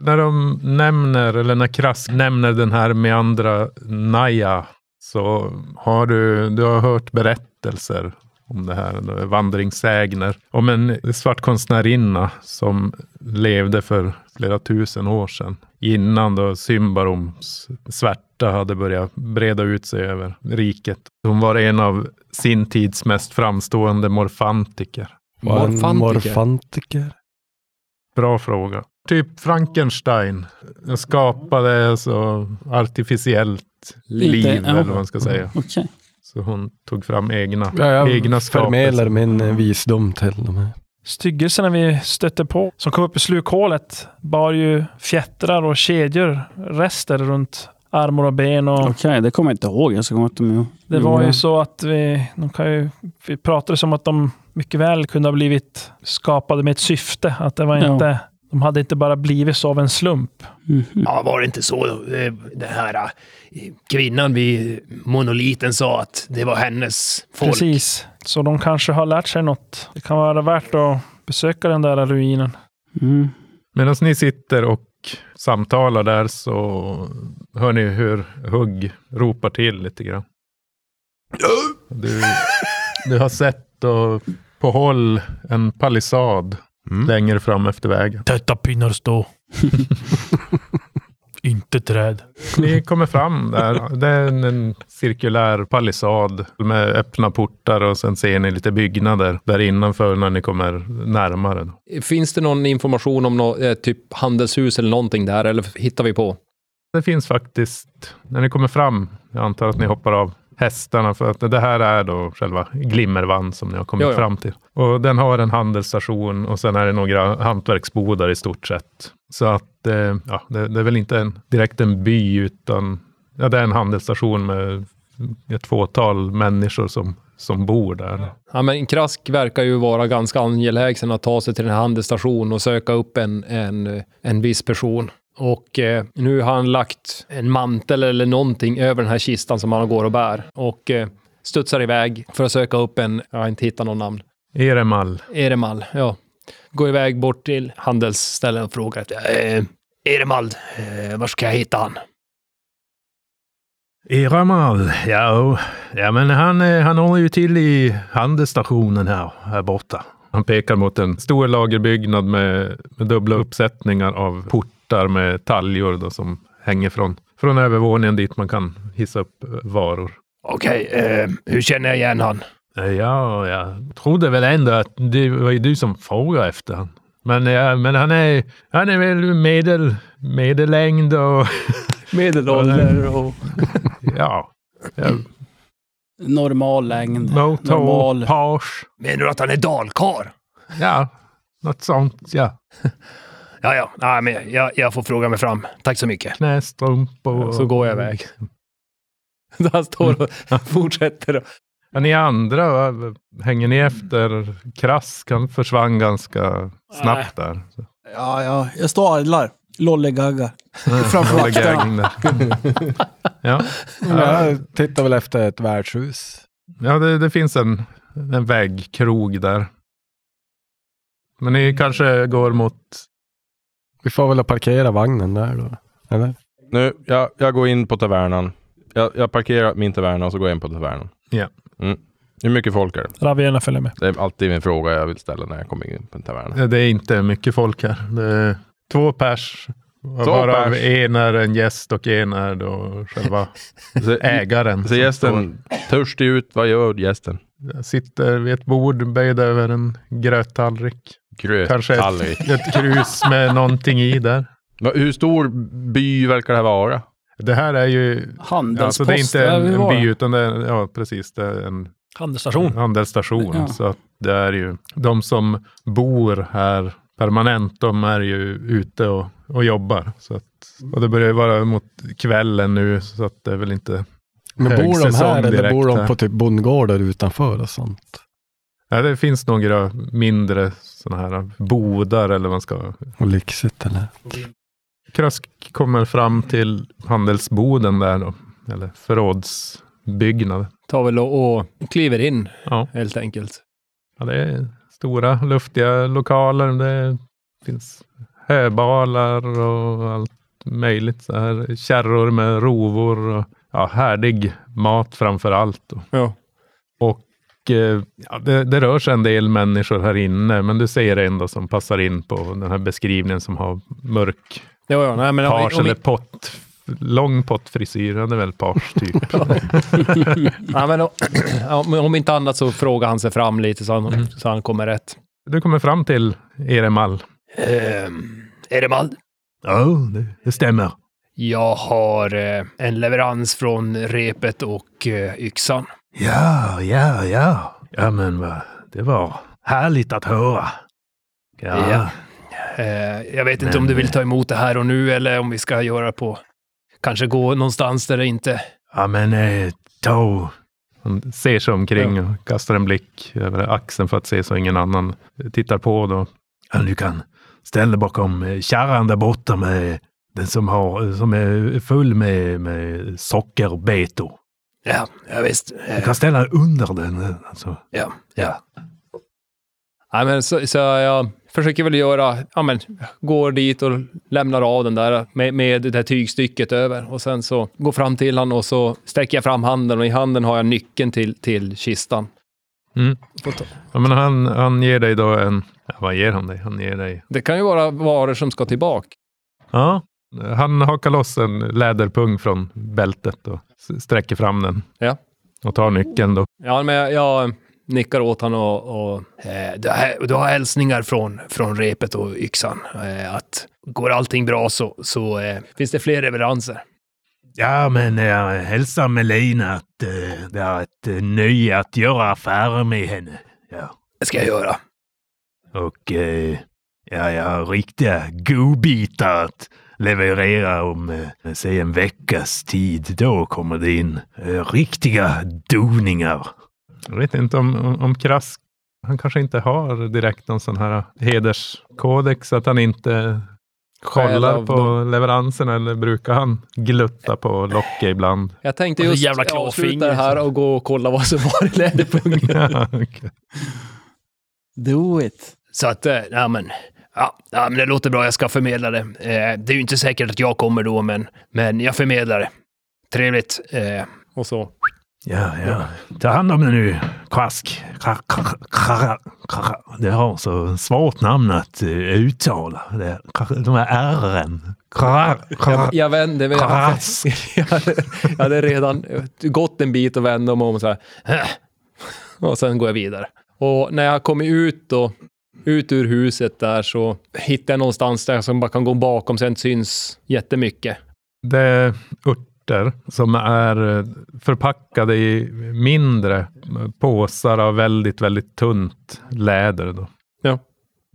Speaker 4: När de nämner, eller när Krask nämner den här Meandra Naja, så har du, du har hört berättelser om det här, då, vandringssägner, om en svart konstnärinna som levde för flera tusen år sedan, innan då Symbaroms svärta hade börjat breda ut sig över riket. Hon var en av sin tids mest framstående morfantiker.
Speaker 6: Morfantiker.
Speaker 7: Morfantiker.
Speaker 4: Bra fråga. Typ Frankenstein. Den skapade alltså artificiellt liv,
Speaker 9: Inte- ja.
Speaker 4: eller vad man ska säga.
Speaker 9: Okej.
Speaker 4: Så hon tog fram egna,
Speaker 7: Ja, jag Förmedlar
Speaker 4: egna skapelser.
Speaker 7: min eh, visdom till dem. här.
Speaker 3: Styggelserna vi stötte på, som kom upp i slukhålet, bar ju fjättrar och kedjor, rester runt armar och ben. Och
Speaker 9: Okej, det kommer jag inte ihåg. Jag ska komma inte ihåg.
Speaker 3: Det var ju så att vi, de kan ju, vi pratade som att de mycket väl kunde ha blivit skapade med ett syfte. Att det var
Speaker 9: Ja.
Speaker 3: inte, de hade inte bara blivit så av en slump.
Speaker 9: Mhm.
Speaker 8: Ja, var det inte så eh, den här eh, kvinnan vid monoliten sa att det var hennes folk?
Speaker 3: Precis. Så de kanske har lärt sig något. Det kan vara värt att besöka den där ruinen.
Speaker 9: Mm.
Speaker 4: Medan ni sitter och samtalar där så hör ni hur Hugg ropar till lite grann. Du, du har sett då på håll en palissad
Speaker 2: Mm.
Speaker 4: längre fram efter vägen.
Speaker 3: Täta pinnar stå. inte träd.
Speaker 4: Ni kommer fram där. Det är en, en cirkulär palissad med öppna portar och sen ser ni lite byggnader där innanför när ni kommer närmare. då.
Speaker 6: Finns det någon information om något, eh, typ handelshus eller någonting där, eller hittar vi på?
Speaker 4: Det finns faktiskt, när ni kommer fram, jag antar att ni hoppar av hästarna för att det här är då själva Glimmervann som ni har kommit
Speaker 6: Ja, ja.
Speaker 4: fram till. Och den har en handelsstation och sen är det några hantverksbodar i stort sett. Så att eh, ja, det, det är väl inte en, direkt en by utan ja, det är en handelsstation med ett fåtal människor som som bor där.
Speaker 6: Ja, men Krask verkar ju vara ganska angelägen att ta sig till den här handelsstationen och söka upp en, en, en viss person. Och eh, nu har han lagt en mantel eller någonting över den här kistan som han går och bär. Och eh, studsar iväg för att söka upp en, jag har inte hittat något namn,
Speaker 4: Eremal.
Speaker 6: Eremal, ja. Går iväg bort till handelsställen och frågar efter,
Speaker 8: Eh, Eremald, eh, var ska jag hitta han?
Speaker 10: Eramal, ja, oh, ja men han, eh, han håller ju till i handelsstationen här, här borta.
Speaker 4: Han pekar mot en stor lagerbyggnad med, med dubbla uppsättningar av portar med taljor då, som hänger från, från övervåningen dit man kan hissa upp eh, varor.
Speaker 8: Okej, eh, hur känner jag igen han?
Speaker 10: Eh, Ja, jag trodde väl ändå att det var ju du som frågade efter han. Men, ja, men han, är, han är väl medel, medellängd och
Speaker 6: medelålder och...
Speaker 10: ja, ja
Speaker 9: Normal längd.
Speaker 10: motor,
Speaker 9: Normal.
Speaker 10: page,
Speaker 8: Menar du att han är dalkar?
Speaker 10: ja, något sånt, ja.
Speaker 8: Ja, ja, Nej, men jag, jag får fråga mig fram. Tack så mycket.
Speaker 10: Knästrumpor.
Speaker 6: Så går jag iväg. Han
Speaker 4: Mm.
Speaker 6: står och fortsätter. och-
Speaker 4: Ja, ni andra, va? hänger ni efter? Krask, han försvann ganska snabbt där.
Speaker 9: Ja, ja. Jag står och adlar. Lollegaggar. Framför
Speaker 4: Håller
Speaker 9: vakterna.
Speaker 4: gäng där. ja,
Speaker 7: Jag tittar väl efter ett värdshus.
Speaker 4: ja det, det finns en, en väggkrog där. Men ni kanske går mot...
Speaker 7: Vi får väl parkera vagnen där då. Eller?
Speaker 2: Nu, jag, jag går in på tavernan. Jag, jag parkerar min taverna och så går jag in på tavernan.
Speaker 4: Ja.
Speaker 2: Mm. Hur mycket folk är det?
Speaker 3: Ravierna följer med.
Speaker 2: Det är alltid min fråga jag vill ställa när jag kommer in på en taverna.
Speaker 4: Det är inte mycket folk här. Det är två pers. Varav
Speaker 2: pers.
Speaker 4: en är en gäst och en är då själva
Speaker 2: Så,
Speaker 4: ägaren.
Speaker 2: så gästen törstig ut. Vad gör gästen?
Speaker 4: som Sitter vid ett bord böjd över en gröttallrik. Kanske
Speaker 2: Gröttallrik.
Speaker 4: ett, ett krus med någonting i där.
Speaker 2: Va- Hur stor by verkar det här vara?
Speaker 4: Det här är ju... Alltså
Speaker 9: Handelspost.
Speaker 4: det är inte
Speaker 9: där vi
Speaker 4: en, en
Speaker 9: var.
Speaker 4: by utan det är, ja, precis, det är en
Speaker 3: Handelsstation.
Speaker 4: handelsstation.
Speaker 9: Ja.
Speaker 4: Så att det är ju de som bor här permanent, de är ju ute och, och jobbar. Så att, och det börjar ju vara mot kvällen nu, så att det är väl inte...
Speaker 7: Men bor de
Speaker 4: Högsäsong
Speaker 7: här eller
Speaker 4: direkt
Speaker 7: bor de
Speaker 4: här.
Speaker 7: på typ bondgårdar utanför och sånt?
Speaker 4: Ja, det finns några mindre sådana här bodar eller vad man ska...
Speaker 7: Och lyxigt eller?
Speaker 4: Krask kommer fram till handelsboden där då, eller förrådsbyggnaden.
Speaker 6: Tar väl och, och kliver in
Speaker 4: Ja.
Speaker 6: helt enkelt.
Speaker 4: Ja, det är stora luftiga lokaler. Det finns höbalar och allt möjligt. Så här, kärror med rovor och ja, härdig mat framför allt. då.
Speaker 6: Ja.
Speaker 4: Och, eh, ja, det, det rör sig en del människor här inne, men du ser en då som passar in på den här beskrivningen som har mörk
Speaker 6: Ja, ja, nej, men om vi-
Speaker 4: page
Speaker 6: om vi-
Speaker 4: eller pott. Lång pottfrisyr, ja, det är väl page typ.
Speaker 6: Ja, men om, ja, men om inte annat så frågar han sig fram lite så
Speaker 4: Mm.
Speaker 6: han, så han kommer rätt.
Speaker 4: du kommer fram till Eremal.
Speaker 8: Eh, Eremald,
Speaker 10: Ja, det, det stämmer.
Speaker 8: jag har eh, en leverans från repet och eh, yxan.
Speaker 10: Ja, ja, ja. Ja, men va, det var härligt att höra. Ja,
Speaker 8: Ja. Eh, jag vet inte
Speaker 10: Men-
Speaker 8: om du vill ta emot det här och nu eller om vi ska göra på... Kanske gå någonstans där det inte...
Speaker 10: ja men eh, ta...
Speaker 4: Han ser sig omkring och kastar en blick över axeln för att se så ingen annan tittar på. Då.
Speaker 10: Ja, du kan ställa dig bakom eh, kärran där borta med den som, har, eh, som är full med, med sockerbetor.
Speaker 8: Ja, ja visst. Eh,
Speaker 10: Du kan ställa dig under den. eh, Alltså.
Speaker 8: ja, ja.
Speaker 6: Ja, men så, så jag försöker väl göra, ja, men, går dit och lämnar av den där med, med det där tygstycket över. Och sen så går fram till han och så sträcker jag fram handen och i handen har jag nyckeln till, till kistan.
Speaker 4: Mm.
Speaker 6: Får ta-
Speaker 4: Ja, men han, han ger dig då en... Ja, vad ger han dig? Han ger dig...
Speaker 6: Det kan ju vara varor som ska tillbaka.
Speaker 4: Ja. Han hakar loss en läderpung från bältet och s- sträcker fram den.
Speaker 6: Ja.
Speaker 4: Och tar nyckeln då.
Speaker 6: Ja, men jag, jag nickar åt honom och, och
Speaker 8: Eh, Du har, du har hälsningar från, från repet och yxan. Eh, att går allting bra så, så eh, finns det fler leveranser.
Speaker 10: Ja, men jag hälsar Melina att eh, det är ett eh, nöje att göra affärer med henne. Ja.
Speaker 8: Det ska jag göra.
Speaker 10: Och eh, ja, jag har riktiga godbitar att leverera om eh, säg en veckas tid. Då kommer det in eh, riktiga doningar.
Speaker 4: Jag vet inte om, om, om Krask, han kanske inte har direkt någon sån här hederskodex, att han inte kollar
Speaker 6: av
Speaker 4: på leveransen eller brukar han glutta på Locke ibland?
Speaker 6: Jag tänkte
Speaker 3: Och
Speaker 6: just
Speaker 3: jävla
Speaker 6: avsluta
Speaker 3: klåfingret,
Speaker 6: det här och gå och kolla vad som var i läderpungen.
Speaker 4: Ja, okej.
Speaker 9: Do it.
Speaker 8: Så att, eh, ja men, ja, ja men det låter bra, jag ska förmedla det. Eh, det är ju inte säkert att jag kommer då, men, men jag förmedlar det. Trevligt. Eh,
Speaker 6: och så.
Speaker 10: Ja, ja. Ta hand om det nu, Krask. Kra- kra- kra- kra- Det har så svårt namn att eh, uttala. Det, de här ärren. Kra- kra-
Speaker 6: Jag vände mig.
Speaker 10: Krask.
Speaker 6: Jag hade, jag hade redan gått en bit och vände mig om och så här. "Äh." Och sen går jag vidare. Och när jag kommer ut då, ut ur huset där så hittar jag någonstans där som bara kan gå bakom så jag inte syns jättemycket.
Speaker 4: Det är örter som är eh, förpackade i mindre påsar av väldigt, väldigt tunt läder. Då.
Speaker 6: Ja.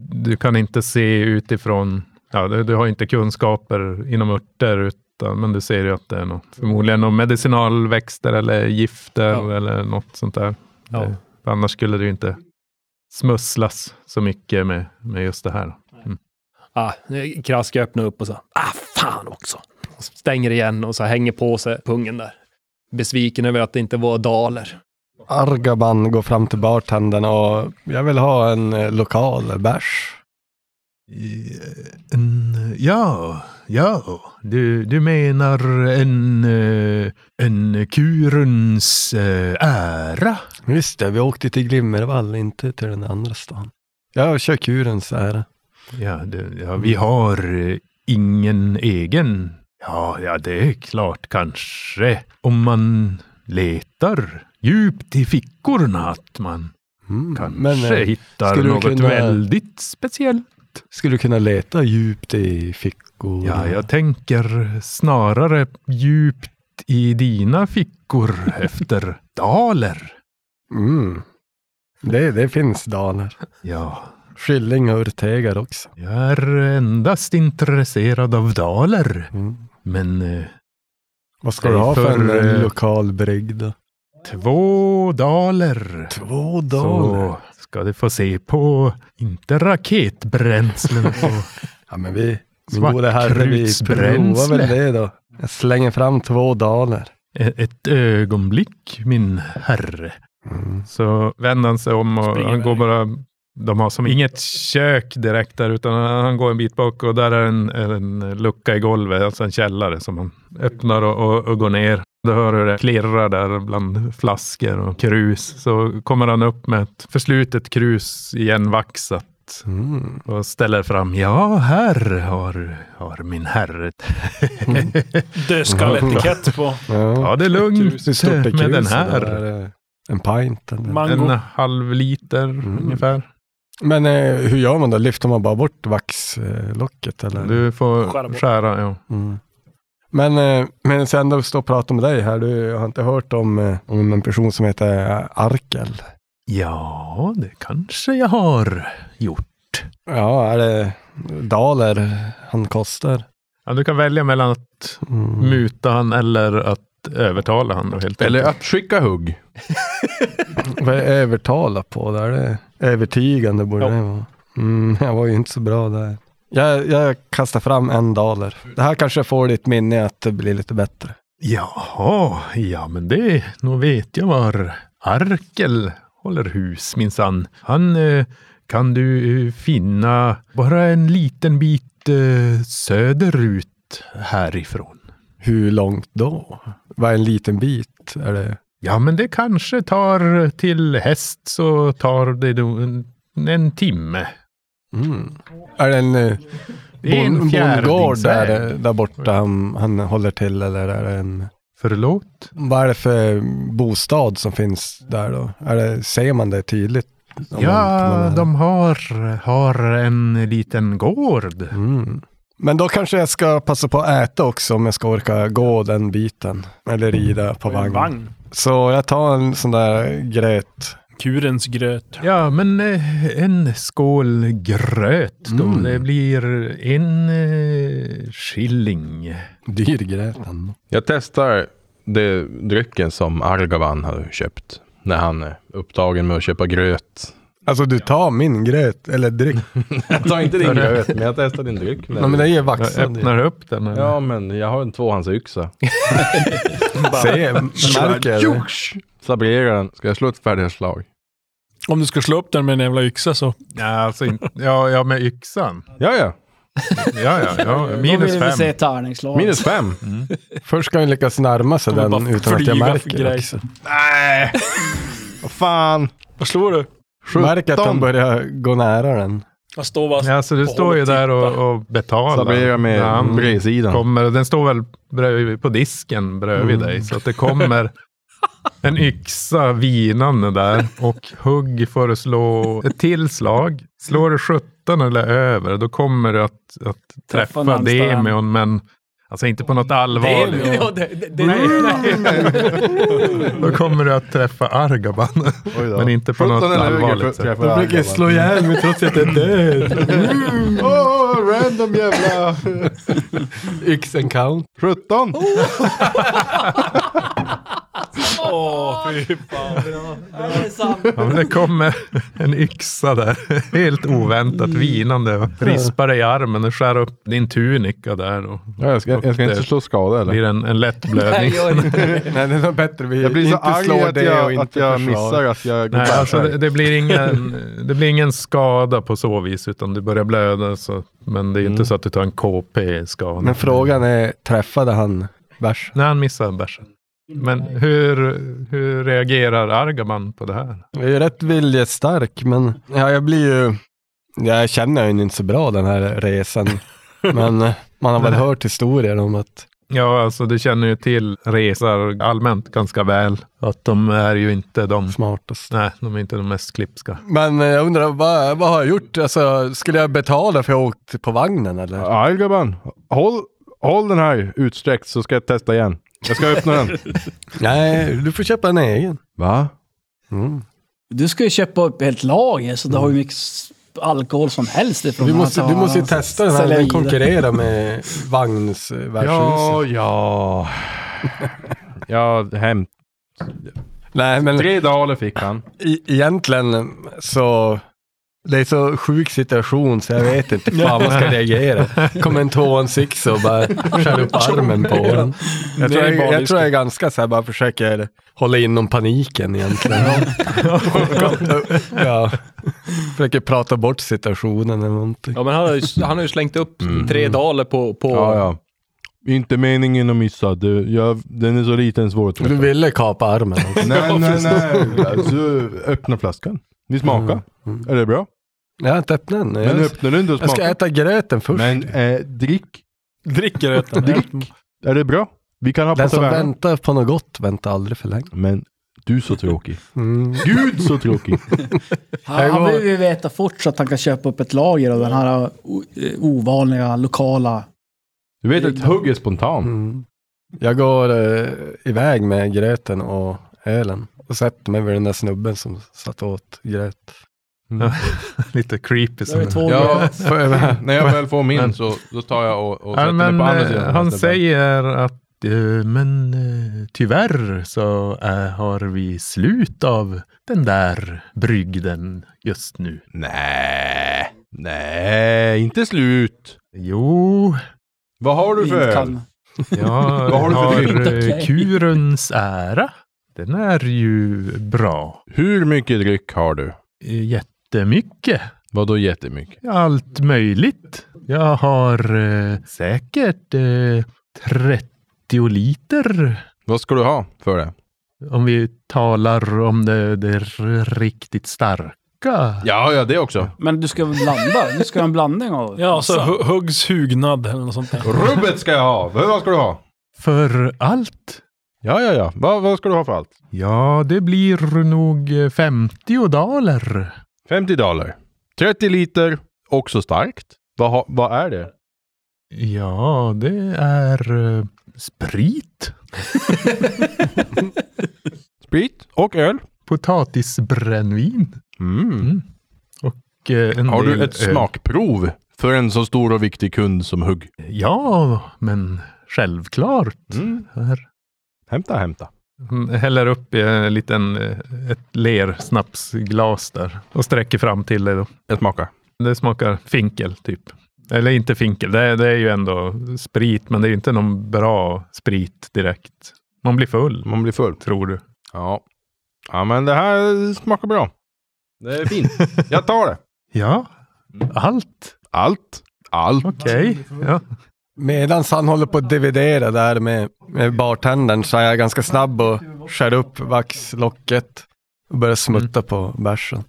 Speaker 4: Du kan inte se utifrån, ja, du, du har inte kunskaper inom örter, utan, men du ser ju att det är något, förmodligen någon medicinalväxter eller gifter
Speaker 6: Ja.
Speaker 4: eller något sånt där.
Speaker 6: Ja.
Speaker 4: Det, för annars skulle det ju inte smusslas så mycket med, med just det här.
Speaker 6: Ah, Krask öppnar upp och så, ah fan också. Och stänger igen och så hänger på sig pungen där. Besviken över att det inte var daler.
Speaker 7: Argaban går fram till bartendern och jag vill ha en eh, lokal bärs.
Speaker 10: Eh, En, ja, ja. Du, du menar en, eh, en kurens eh, ära?
Speaker 7: Just det, vi åkte till Glimmervall, inte till den andra stan. Jag kör kurens ära.
Speaker 10: Ja, det, ja
Speaker 7: Mm.
Speaker 10: vi har eh, ingen egen. Ja, ja, det är klart kanske. Om man letar djupt i fickorna att man
Speaker 7: Mm.
Speaker 10: kanske
Speaker 7: eh,
Speaker 10: hittar
Speaker 7: skulle du
Speaker 10: något
Speaker 7: kunna-
Speaker 10: väldigt speciellt.
Speaker 7: Skulle du kunna leta djupt i fickor?
Speaker 10: Ja, jag tänker snarare djupt i dina fickor efter daler.
Speaker 7: Mm. Det, det finns daler.
Speaker 10: Ja,
Speaker 7: Skilling och urtegar också.
Speaker 10: jag är endast intresserad av daler,
Speaker 7: Mm.
Speaker 10: men eh,
Speaker 7: Vad ska
Speaker 10: Det
Speaker 7: du
Speaker 10: är
Speaker 7: ha för, en
Speaker 10: för,
Speaker 7: eh,
Speaker 10: eh,
Speaker 7: lokal brygg då?
Speaker 10: två daler.
Speaker 7: Två
Speaker 10: Så ska du få se på, inte raketbränslen. på.
Speaker 7: Ja, men vi, vi
Speaker 10: Svart
Speaker 7: gode herre, vi provar
Speaker 10: krutsbränsle.
Speaker 7: väl det då. Jag slänger fram två daler.
Speaker 10: E- Ett ögonblick, min herre.
Speaker 7: Mm.
Speaker 4: Så vänder han sig om och
Speaker 3: Springer
Speaker 4: han går
Speaker 3: iväg.
Speaker 4: bara... De har som inget kök direkt där, utan han går en bit bak och där är en, en lucka i golvet, alltså en källare som han öppnar och, och, och går ner. Då hör du det klirrar där bland flaskor och krus. Så kommer han upp med ett förslutet krus igenvaxat
Speaker 7: Mm.
Speaker 4: och ställer fram.
Speaker 10: Ja, här har, har min herre.
Speaker 3: Dödskalletikett på
Speaker 7: Ja.
Speaker 10: Ja, det är
Speaker 7: Hur
Speaker 10: lugnt
Speaker 7: stort är
Speaker 10: med den
Speaker 7: kruset
Speaker 10: här.
Speaker 7: där? Eh, En pint eller?
Speaker 4: En
Speaker 3: mango.
Speaker 4: halv liter
Speaker 7: Mm.
Speaker 4: ungefär.
Speaker 7: Men eh, hur gör man då? Lyfter man bara bort vaxlocket eller?
Speaker 4: Du
Speaker 3: Skära
Speaker 4: får
Speaker 3: bort.
Speaker 4: skära, ja.
Speaker 7: Mm. Men eh, medan jag ändå står och pratar med dig här, du har inte hört om, eh, om en person som heter eh, Arkel?
Speaker 10: Ja, det kanske jag har gjort.
Speaker 7: Ja, är det daler han kostar?
Speaker 4: ja. Du kan välja mellan att
Speaker 7: Mm.
Speaker 4: muta han eller att övertala han då helt
Speaker 2: Eller
Speaker 4: enkelt.
Speaker 2: att skicka hugg.
Speaker 7: Vad är övertala på? Där det övertygande borde
Speaker 4: Ja.
Speaker 7: det vara. Mm, jag var ju inte så bra där. Jag, jag kastar fram en daler. Det här kanske får ditt minne att bli lite bättre.
Speaker 10: Jaha, ja men det, nog vet jag var Arkel håller hus minsann. Han eh, kan du eh, finna bara en liten bit eh, söderut härifrån.
Speaker 7: Hur långt då? Vad är en liten bit? Är det...
Speaker 10: Ja men det kanske tar till häst så tar det då en, en timme.
Speaker 7: Mm. Är det en eh,
Speaker 10: Det är
Speaker 7: bon,
Speaker 10: en
Speaker 7: bondgård
Speaker 10: fjärdingsväg.
Speaker 7: där, eh, där borta han, han håller till? Eller är det en...
Speaker 10: Förlåt?
Speaker 7: Vad är det för bostad som finns där då? Är det, ser man det tydligt? Om man- om man
Speaker 10: Ja,
Speaker 7: är-
Speaker 10: de har, har en liten gård.
Speaker 7: Mm. Men då kanske jag ska passa på att äta också om jag ska orka gå den biten. Eller rida på
Speaker 10: Mm.
Speaker 7: vagn.
Speaker 3: Vagn.
Speaker 7: Så jag tar en sån där gröt.
Speaker 3: Kurens gröt.
Speaker 10: Ja, men eh, en skål gröt då.
Speaker 7: Mm.
Speaker 10: Det blir en eh, skilling. Mm.
Speaker 7: Dyr gröt ändå.
Speaker 2: Jag testar det drycken som Argavan har köpt. När han är upptagen med att köpa gröt.
Speaker 7: Alltså du tar min gröt, eller dryck.
Speaker 2: Jag tar inte din gröt, men jag testar din dryck.
Speaker 7: Nej, men det är vaxad.
Speaker 11: Jag öppnar upp den. eller?
Speaker 2: Ja, men jag har en tvåhandsyxa.
Speaker 7: Se, märker jag det.
Speaker 2: Sabrerar den. Ska jag slå ett färdighetsslag?
Speaker 3: Om du ska slå upp den med en jävla yxa så.
Speaker 4: Nej, alltså in- ja, ja, med yxan.
Speaker 2: Ja, ja.
Speaker 4: Ja, ja, ja.
Speaker 5: Då
Speaker 4: Minus
Speaker 5: vill vi se
Speaker 4: fem.
Speaker 5: tärningsslag.
Speaker 2: Minus fem.
Speaker 7: Mm. Först ska han lyckas närma sig
Speaker 3: Kommer
Speaker 7: den
Speaker 3: bara
Speaker 7: utan att jag
Speaker 3: flyga
Speaker 7: märker.
Speaker 3: grejer.
Speaker 2: liksom.
Speaker 7: också.
Speaker 2: Nej! Vad fan!
Speaker 3: Vad slår du?
Speaker 7: Märker att han
Speaker 2: 17.
Speaker 7: börjar gå nära den.
Speaker 12: Jag står bara...
Speaker 4: Ja, alltså du
Speaker 12: Och
Speaker 4: står
Speaker 12: håller
Speaker 4: ju där
Speaker 12: tippa.
Speaker 4: och, och betalar.
Speaker 2: Sabrerar med
Speaker 4: Ja, mm.
Speaker 2: bredsidan.
Speaker 4: Kommer, den står väl bredvid, på disken bredvid
Speaker 2: Mm.
Speaker 4: dig. Så att det kommer en yxa vinande där. Och hugg för att slå ett tillslag. Slår du 17 eller över, då kommer du att, att
Speaker 5: Träffa
Speaker 4: träffa
Speaker 5: närmsta
Speaker 4: Demion. Men alltså inte på något allvarligt.
Speaker 5: Ja, det, det, det,
Speaker 4: Då kommer du att träffa Argaban.
Speaker 2: Oj då.
Speaker 4: Men inte på något
Speaker 2: 17 eller högre
Speaker 4: allvarligt
Speaker 2: för-
Speaker 4: sätt.
Speaker 2: träffar alla, va?
Speaker 7: ihjäl mig trots att jag är död.
Speaker 2: Åh, random jävla...
Speaker 7: Yxen count.
Speaker 2: 17!
Speaker 4: Ja, men det kommer en yxa där. Helt oväntat
Speaker 2: Mm.
Speaker 4: vinande. och Rispar dig i armen och skär upp din tunika där. Och
Speaker 2: Ja, jag, ska, jag ska inte slå skada eller?
Speaker 4: blir en, en lätt blödning.
Speaker 7: Nej, det är nog bättre vi
Speaker 2: Jag blir så
Speaker 7: inte slår
Speaker 2: arg att
Speaker 7: det och
Speaker 2: jag,
Speaker 7: inte
Speaker 2: att jag
Speaker 7: försvarar.
Speaker 2: missar att jag går
Speaker 4: Nej, alltså det,
Speaker 2: bärsärk.
Speaker 4: det, blir ingen, det blir ingen skada på så vis, utan du börjar blöda. Så, men det är
Speaker 2: Mm.
Speaker 4: inte så att du tar en KP-skada.
Speaker 7: Men frågan är, träffade han bärs?
Speaker 4: Nej, han missar bärsen. Men hur, hur reagerar Argaman på det här?
Speaker 7: Jag är ju rätt viljestark, men ja, jag blir ju... Jag känner ju inte så bra den här resan. Men eh, man har väl hört historier om att...
Speaker 4: Ja, alltså du känner ju till resar allmänt ganska väl. Att de är ju inte de,
Speaker 7: Smartast.
Speaker 4: nej, de är inte de mest klipska.
Speaker 7: Men eh, jag undrar, vad, vad har jag gjort? Alltså, skulle jag betala för att jag åkt på vagnen eller?
Speaker 2: Algaban, håll, håll den här utsträckt så ska jag testa igen. Jag ska öppna den.
Speaker 7: Nej, du får köpa en egen.
Speaker 2: Va?
Speaker 7: Mm.
Speaker 5: Du ska ju köpa upp helt lager, så du har ju mycket s- alkohol som helst ifrån
Speaker 7: Du,
Speaker 5: den här
Speaker 7: måste, du
Speaker 5: tavlan.
Speaker 7: måste ju testa den här,
Speaker 5: Sälja
Speaker 7: den
Speaker 5: vidare.
Speaker 7: konkurrerar med vagnsvärdshuset.
Speaker 2: Ja, ja. Ja, hämt.
Speaker 7: Nej, men
Speaker 2: Tre daler fick han.
Speaker 7: e egentligen så... Det är så sjuk situation så jag vet inte fan man ska reagera. Kommer en två och en sexa och bara skär upp armen på den. Jag tror jag, jag, tror jag är ganska så här, bara försöker hålla inom paniken egentligen. ja. Försöker prata bort situationen eller någonting.
Speaker 6: Ja, men han har ju, han har ju slängt upp
Speaker 7: Mm.
Speaker 6: tre daler på... på
Speaker 2: Ja, ja. Inte meningen att missa. Du, jag, den är så liten svår att
Speaker 7: Du
Speaker 2: träffa.
Speaker 7: ville kapa armen. alltså.
Speaker 2: Nej, nej, nej. Alltså, öppna flaskan. Vi smakar. Är det bra?
Speaker 7: Jag har inte öppnat den.
Speaker 2: Men
Speaker 7: Jag,
Speaker 2: öppna den du
Speaker 7: Mm, jag
Speaker 2: och
Speaker 7: ska
Speaker 2: smaka.
Speaker 7: äta gröten först.
Speaker 2: Men eh, drick.
Speaker 3: Dricker du den?
Speaker 2: Drick. Är det bra? Vi kan ha på
Speaker 7: Den som
Speaker 2: tavernan.
Speaker 7: väntar på något gott väntar aldrig för länge.
Speaker 2: Men du är så tråkig.
Speaker 7: Mm.
Speaker 2: Gud så tråkig.
Speaker 5: Han, han behöver ju veta fort så att han kan köpa upp ett lager av den här o- eh, ovanliga, lokala...
Speaker 2: Du vet att hugg är spontan.
Speaker 7: Mm. Jag går eh, iväg med gröten och ölen och sätter mig vid den där snubben som satt åt gröt.
Speaker 2: Mm.
Speaker 4: Lite creepy.
Speaker 5: Då är det
Speaker 4: Som
Speaker 5: två
Speaker 2: Ja,
Speaker 5: lager.
Speaker 2: när jag väl får min så då tar jag och, och
Speaker 4: ja,
Speaker 2: sätter mig
Speaker 4: men,
Speaker 2: på andra
Speaker 4: eh,
Speaker 2: sidan. den här
Speaker 4: han
Speaker 2: snubben.
Speaker 4: säger att eh, men eh, tyvärr så eh, har vi slut av den där brygden just nu.
Speaker 2: Nej, nej, inte slut.
Speaker 4: Jo,
Speaker 2: Vad har du för
Speaker 5: Inte
Speaker 2: öl?
Speaker 5: kan-
Speaker 4: jag
Speaker 2: Vad har
Speaker 4: har,
Speaker 2: du för dryck?
Speaker 4: eh,
Speaker 5: Okej.
Speaker 4: kurens ära. Den är ju bra.
Speaker 2: Hur mycket dryck har du?
Speaker 4: Eh, Jättemycket.
Speaker 2: Vadå jättemycket?
Speaker 4: Allt möjligt. Jag har eh, säkert eh, 30 liter.
Speaker 2: Vad ska du ha för det?
Speaker 4: Om vi talar om det, det r- riktigt starka.
Speaker 2: Ja, ja, det också.
Speaker 5: Men du ska väl blanda? Du ska ha en blandning av...
Speaker 12: Ja, så hu- huggs hugnad eller något sånt där.
Speaker 2: Rubbet ska jag ha. Vad vad ska du ha?
Speaker 4: För allt?
Speaker 2: Ja, ja, ja. Vad, vad ska du ha för allt?
Speaker 4: Ja, det blir nog eh, 50 daler.
Speaker 2: 50 dollar. 30 liter. Också starkt. Vad, ha, vad är det?
Speaker 4: Ja, det är eh, sprit.
Speaker 2: Sprit och öl.
Speaker 4: Potatisbrännvin.
Speaker 2: Mm.
Speaker 4: och, eh, en
Speaker 2: Har
Speaker 4: del
Speaker 2: du ett
Speaker 4: öl.
Speaker 2: smakprov för en så stor och viktig kund som Hugg?
Speaker 4: Ja, men självklart.
Speaker 2: Mm.
Speaker 4: Här.
Speaker 2: Hämta, hämta.
Speaker 4: Han Mm, häller upp i en liten, eh, ett lersnapsglas där och sträcker fram till dig. Då.
Speaker 2: Jag smakar.
Speaker 4: Det smakar finkel typ. Eller inte finkel, det, det är ju ändå sprit, men det är ju inte någon bra sprit direkt. Man blir full.
Speaker 2: Man blir full.
Speaker 4: Tror du.
Speaker 2: Ja. Ja, men det här smakar bra. Det är fint. Jag tar det.
Speaker 10: Ja. Allt.
Speaker 2: Allt. Allt.
Speaker 10: Okej. Ja.
Speaker 7: Medan han håller på att dividera där med, med bartendern så är jag ganska snabb och skär upp vaxlocket och
Speaker 2: Mm.
Speaker 7: börjar smutta på bärsen.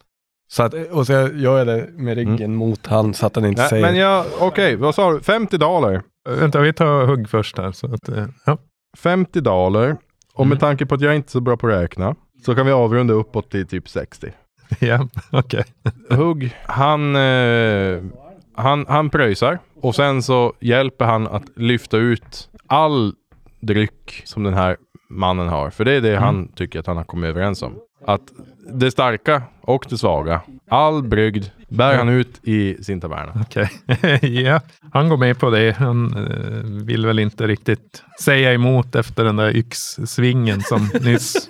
Speaker 7: Så att, och så gör jag det med ryggen mot han så att han inte
Speaker 2: Mm. Nej,
Speaker 7: säger.
Speaker 2: men jag, okej, vad sa du? 50 daler?
Speaker 4: Vänta, vi tar hugg först här. Så att, eh, ja.
Speaker 2: 50 daler. Och med tanke på att jag inte är så bra på att räkna så kan vi avrunda uppåt till typ 60.
Speaker 4: Ja, okej.
Speaker 2: Hugg, han, eh, han, han pröjsar och sen så hjälper han att lyfta ut all dryck som den här mannen har. För det är det han tycker att han har kommit överens om. Att det starka och det svaga, all brygd, bär han ut i sin taverna.
Speaker 4: Okej. ja, han går med på det. Han eh, vill väl inte riktigt säga emot efter den där yxsvingen som nyss,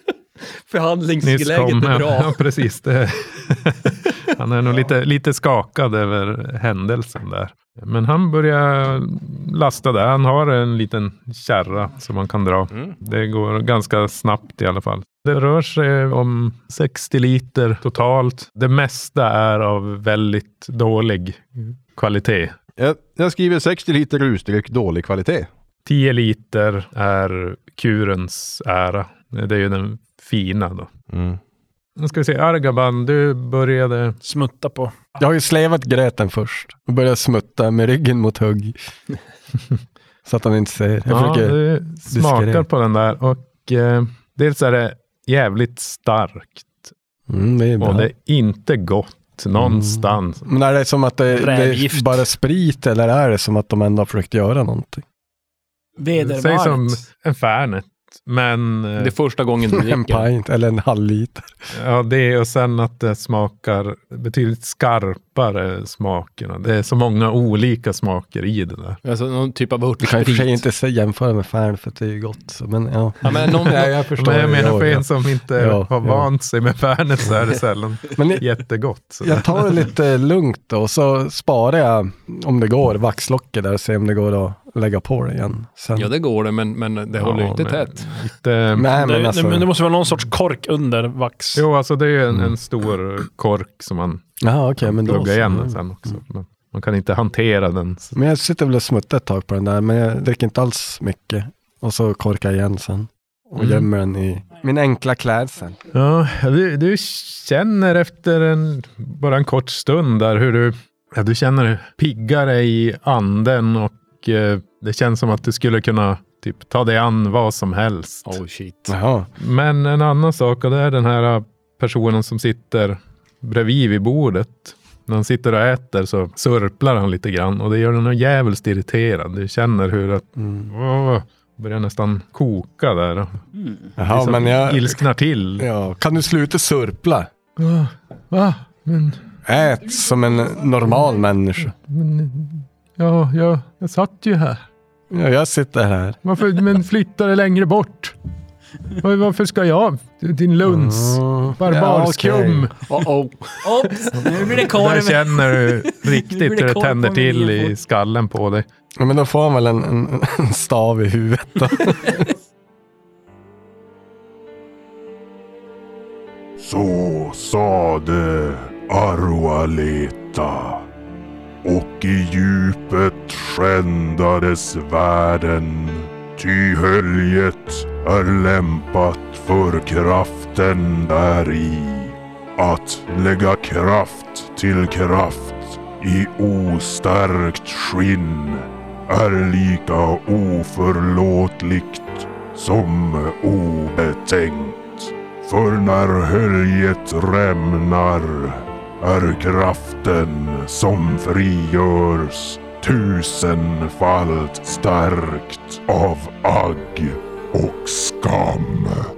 Speaker 4: nyss
Speaker 13: Förhandlingsläget
Speaker 4: kom.
Speaker 13: är
Speaker 4: Ja,
Speaker 13: bra.
Speaker 4: ja, precis. Det. han är nog lite, lite skakad över händelsen där. Men han börjar lasta där. Han har en liten kärra som man kan dra.
Speaker 2: Mm.
Speaker 4: Det går ganska snabbt i alla fall. Det rör sig om 60 liter totalt. Det mesta är av väldigt dålig kvalitet.
Speaker 2: Jag, jag skriver 60 liter rusdryck, dålig kvalitet.
Speaker 4: 10 liter är kurens ära. Det är ju den fina då.
Speaker 2: Mm.
Speaker 4: Nu ska vi se, Argaban, du började...
Speaker 3: Smutta på.
Speaker 7: Jag har ju slevat gröten först och börjar smutta med ryggen mot hugg. så att han inte ser. Jag
Speaker 4: Ja,
Speaker 7: försöker
Speaker 4: du smakar
Speaker 7: diskret.
Speaker 4: på den där och eh, dels är det jävligt starkt
Speaker 7: Mm, det är bra. Mm.
Speaker 4: och det är inte gott någonstans.
Speaker 7: Men är det som att det, det är
Speaker 4: Rävgift.
Speaker 7: bara sprit eller är det som att de ändå har försökt göra någonting?
Speaker 4: Säg som en Fernet, men... eh,
Speaker 13: Det är första gången du
Speaker 7: En
Speaker 13: dricker.
Speaker 7: pint eller en halv liter.
Speaker 4: Ja, det och sen att det smakar betydligt skarpare smakerna. Det är så många olika smaker i det där.
Speaker 13: Alltså någon typ av
Speaker 7: Du kan i och för sig
Speaker 13: örtsprit.
Speaker 7: inte se- jämföra med Färn för att det är ju gott. så- Men ja.
Speaker 13: Ja, men någon-
Speaker 7: ja, jag förstår.
Speaker 4: Men jag menar för
Speaker 7: Ja,
Speaker 4: en
Speaker 7: ja.
Speaker 4: som inte
Speaker 7: Ja,
Speaker 4: har
Speaker 7: ja.
Speaker 4: vant sig med Fernet så är det sällan
Speaker 7: Men jag-
Speaker 4: jättegott. Så.
Speaker 7: Jag tar det lite lugnt då, och så sparar jag, om det går, vaxlocket där och ser om det går att lägga på det igen. Sen.
Speaker 13: Ja, det går det, men, men det håller ju
Speaker 4: Ja,
Speaker 13: inte
Speaker 4: men-
Speaker 13: tätt.
Speaker 4: Lite,
Speaker 7: Nej, men
Speaker 3: det,
Speaker 7: alltså,
Speaker 3: det, men det måste vara någon sorts kork under vax.
Speaker 4: eh, Jo, alltså det är ju
Speaker 7: Mm.
Speaker 4: en, en stor kork som man
Speaker 7: Jaha, okej, men då
Speaker 4: pluggar
Speaker 7: så. Mm.
Speaker 4: igen sen också. Men man kan inte hantera den. Så-
Speaker 7: Men jag sitter väl och smuttar ett tag på den där, men jag dricker inte alls mycket. Och så korkar jag igen sen. Och
Speaker 4: Mm.
Speaker 7: gömmer den i min enkla klädsel.
Speaker 4: Ja, du, du känner efter en, bara en kort stund där hur du, ja, du känner piggare i anden och eh, det känns som att du skulle kunna typ ta dig an vad som helst.
Speaker 13: Oh shit.
Speaker 7: Jaha.
Speaker 4: Men en annan sak, och det är den här personen som sitter bredvid vid bordet. När han sitter och äter så sörplar han lite grann och det gör honom jävligt irriterad. Du känner hur att,
Speaker 7: Mm.
Speaker 4: åh, börjar nästan koka där. Liksom
Speaker 7: Jaha, men jag...
Speaker 4: Ilsknar till.
Speaker 7: Ja, kan du sluta surpla?
Speaker 4: Va? Va? Men,
Speaker 7: Ät som en normal människa.
Speaker 4: men, ja, jag, jag satt ju här.
Speaker 7: Ja, jag sitter här.
Speaker 4: Varför, men flytta dig längre bort. Var- Varför ska jag? Din luns.
Speaker 7: Mm.
Speaker 4: Barbarskum.
Speaker 7: Ja,
Speaker 13: Oh, oh.
Speaker 9: Oops, nu blir det
Speaker 4: Där
Speaker 9: korv.
Speaker 4: känner du
Speaker 9: Nu blir
Speaker 4: riktigt
Speaker 9: det
Speaker 4: hur det
Speaker 9: korv på
Speaker 4: tänder
Speaker 9: min
Speaker 4: till
Speaker 9: info.
Speaker 4: i skallen på dig.
Speaker 7: okej. Men då får han väl en, en, en stav i huvudet då.
Speaker 1: Så sade Arvaleta. Och i djupet skändades världen. Ty höljet är lämpat för kraften däri. Att lägga kraft till kraft i ostärkt skinn är lika oförlåtligt som obetänkt. För när höljet rämnar är kraften som frigörs tusenfalt stärkt av agg och skam.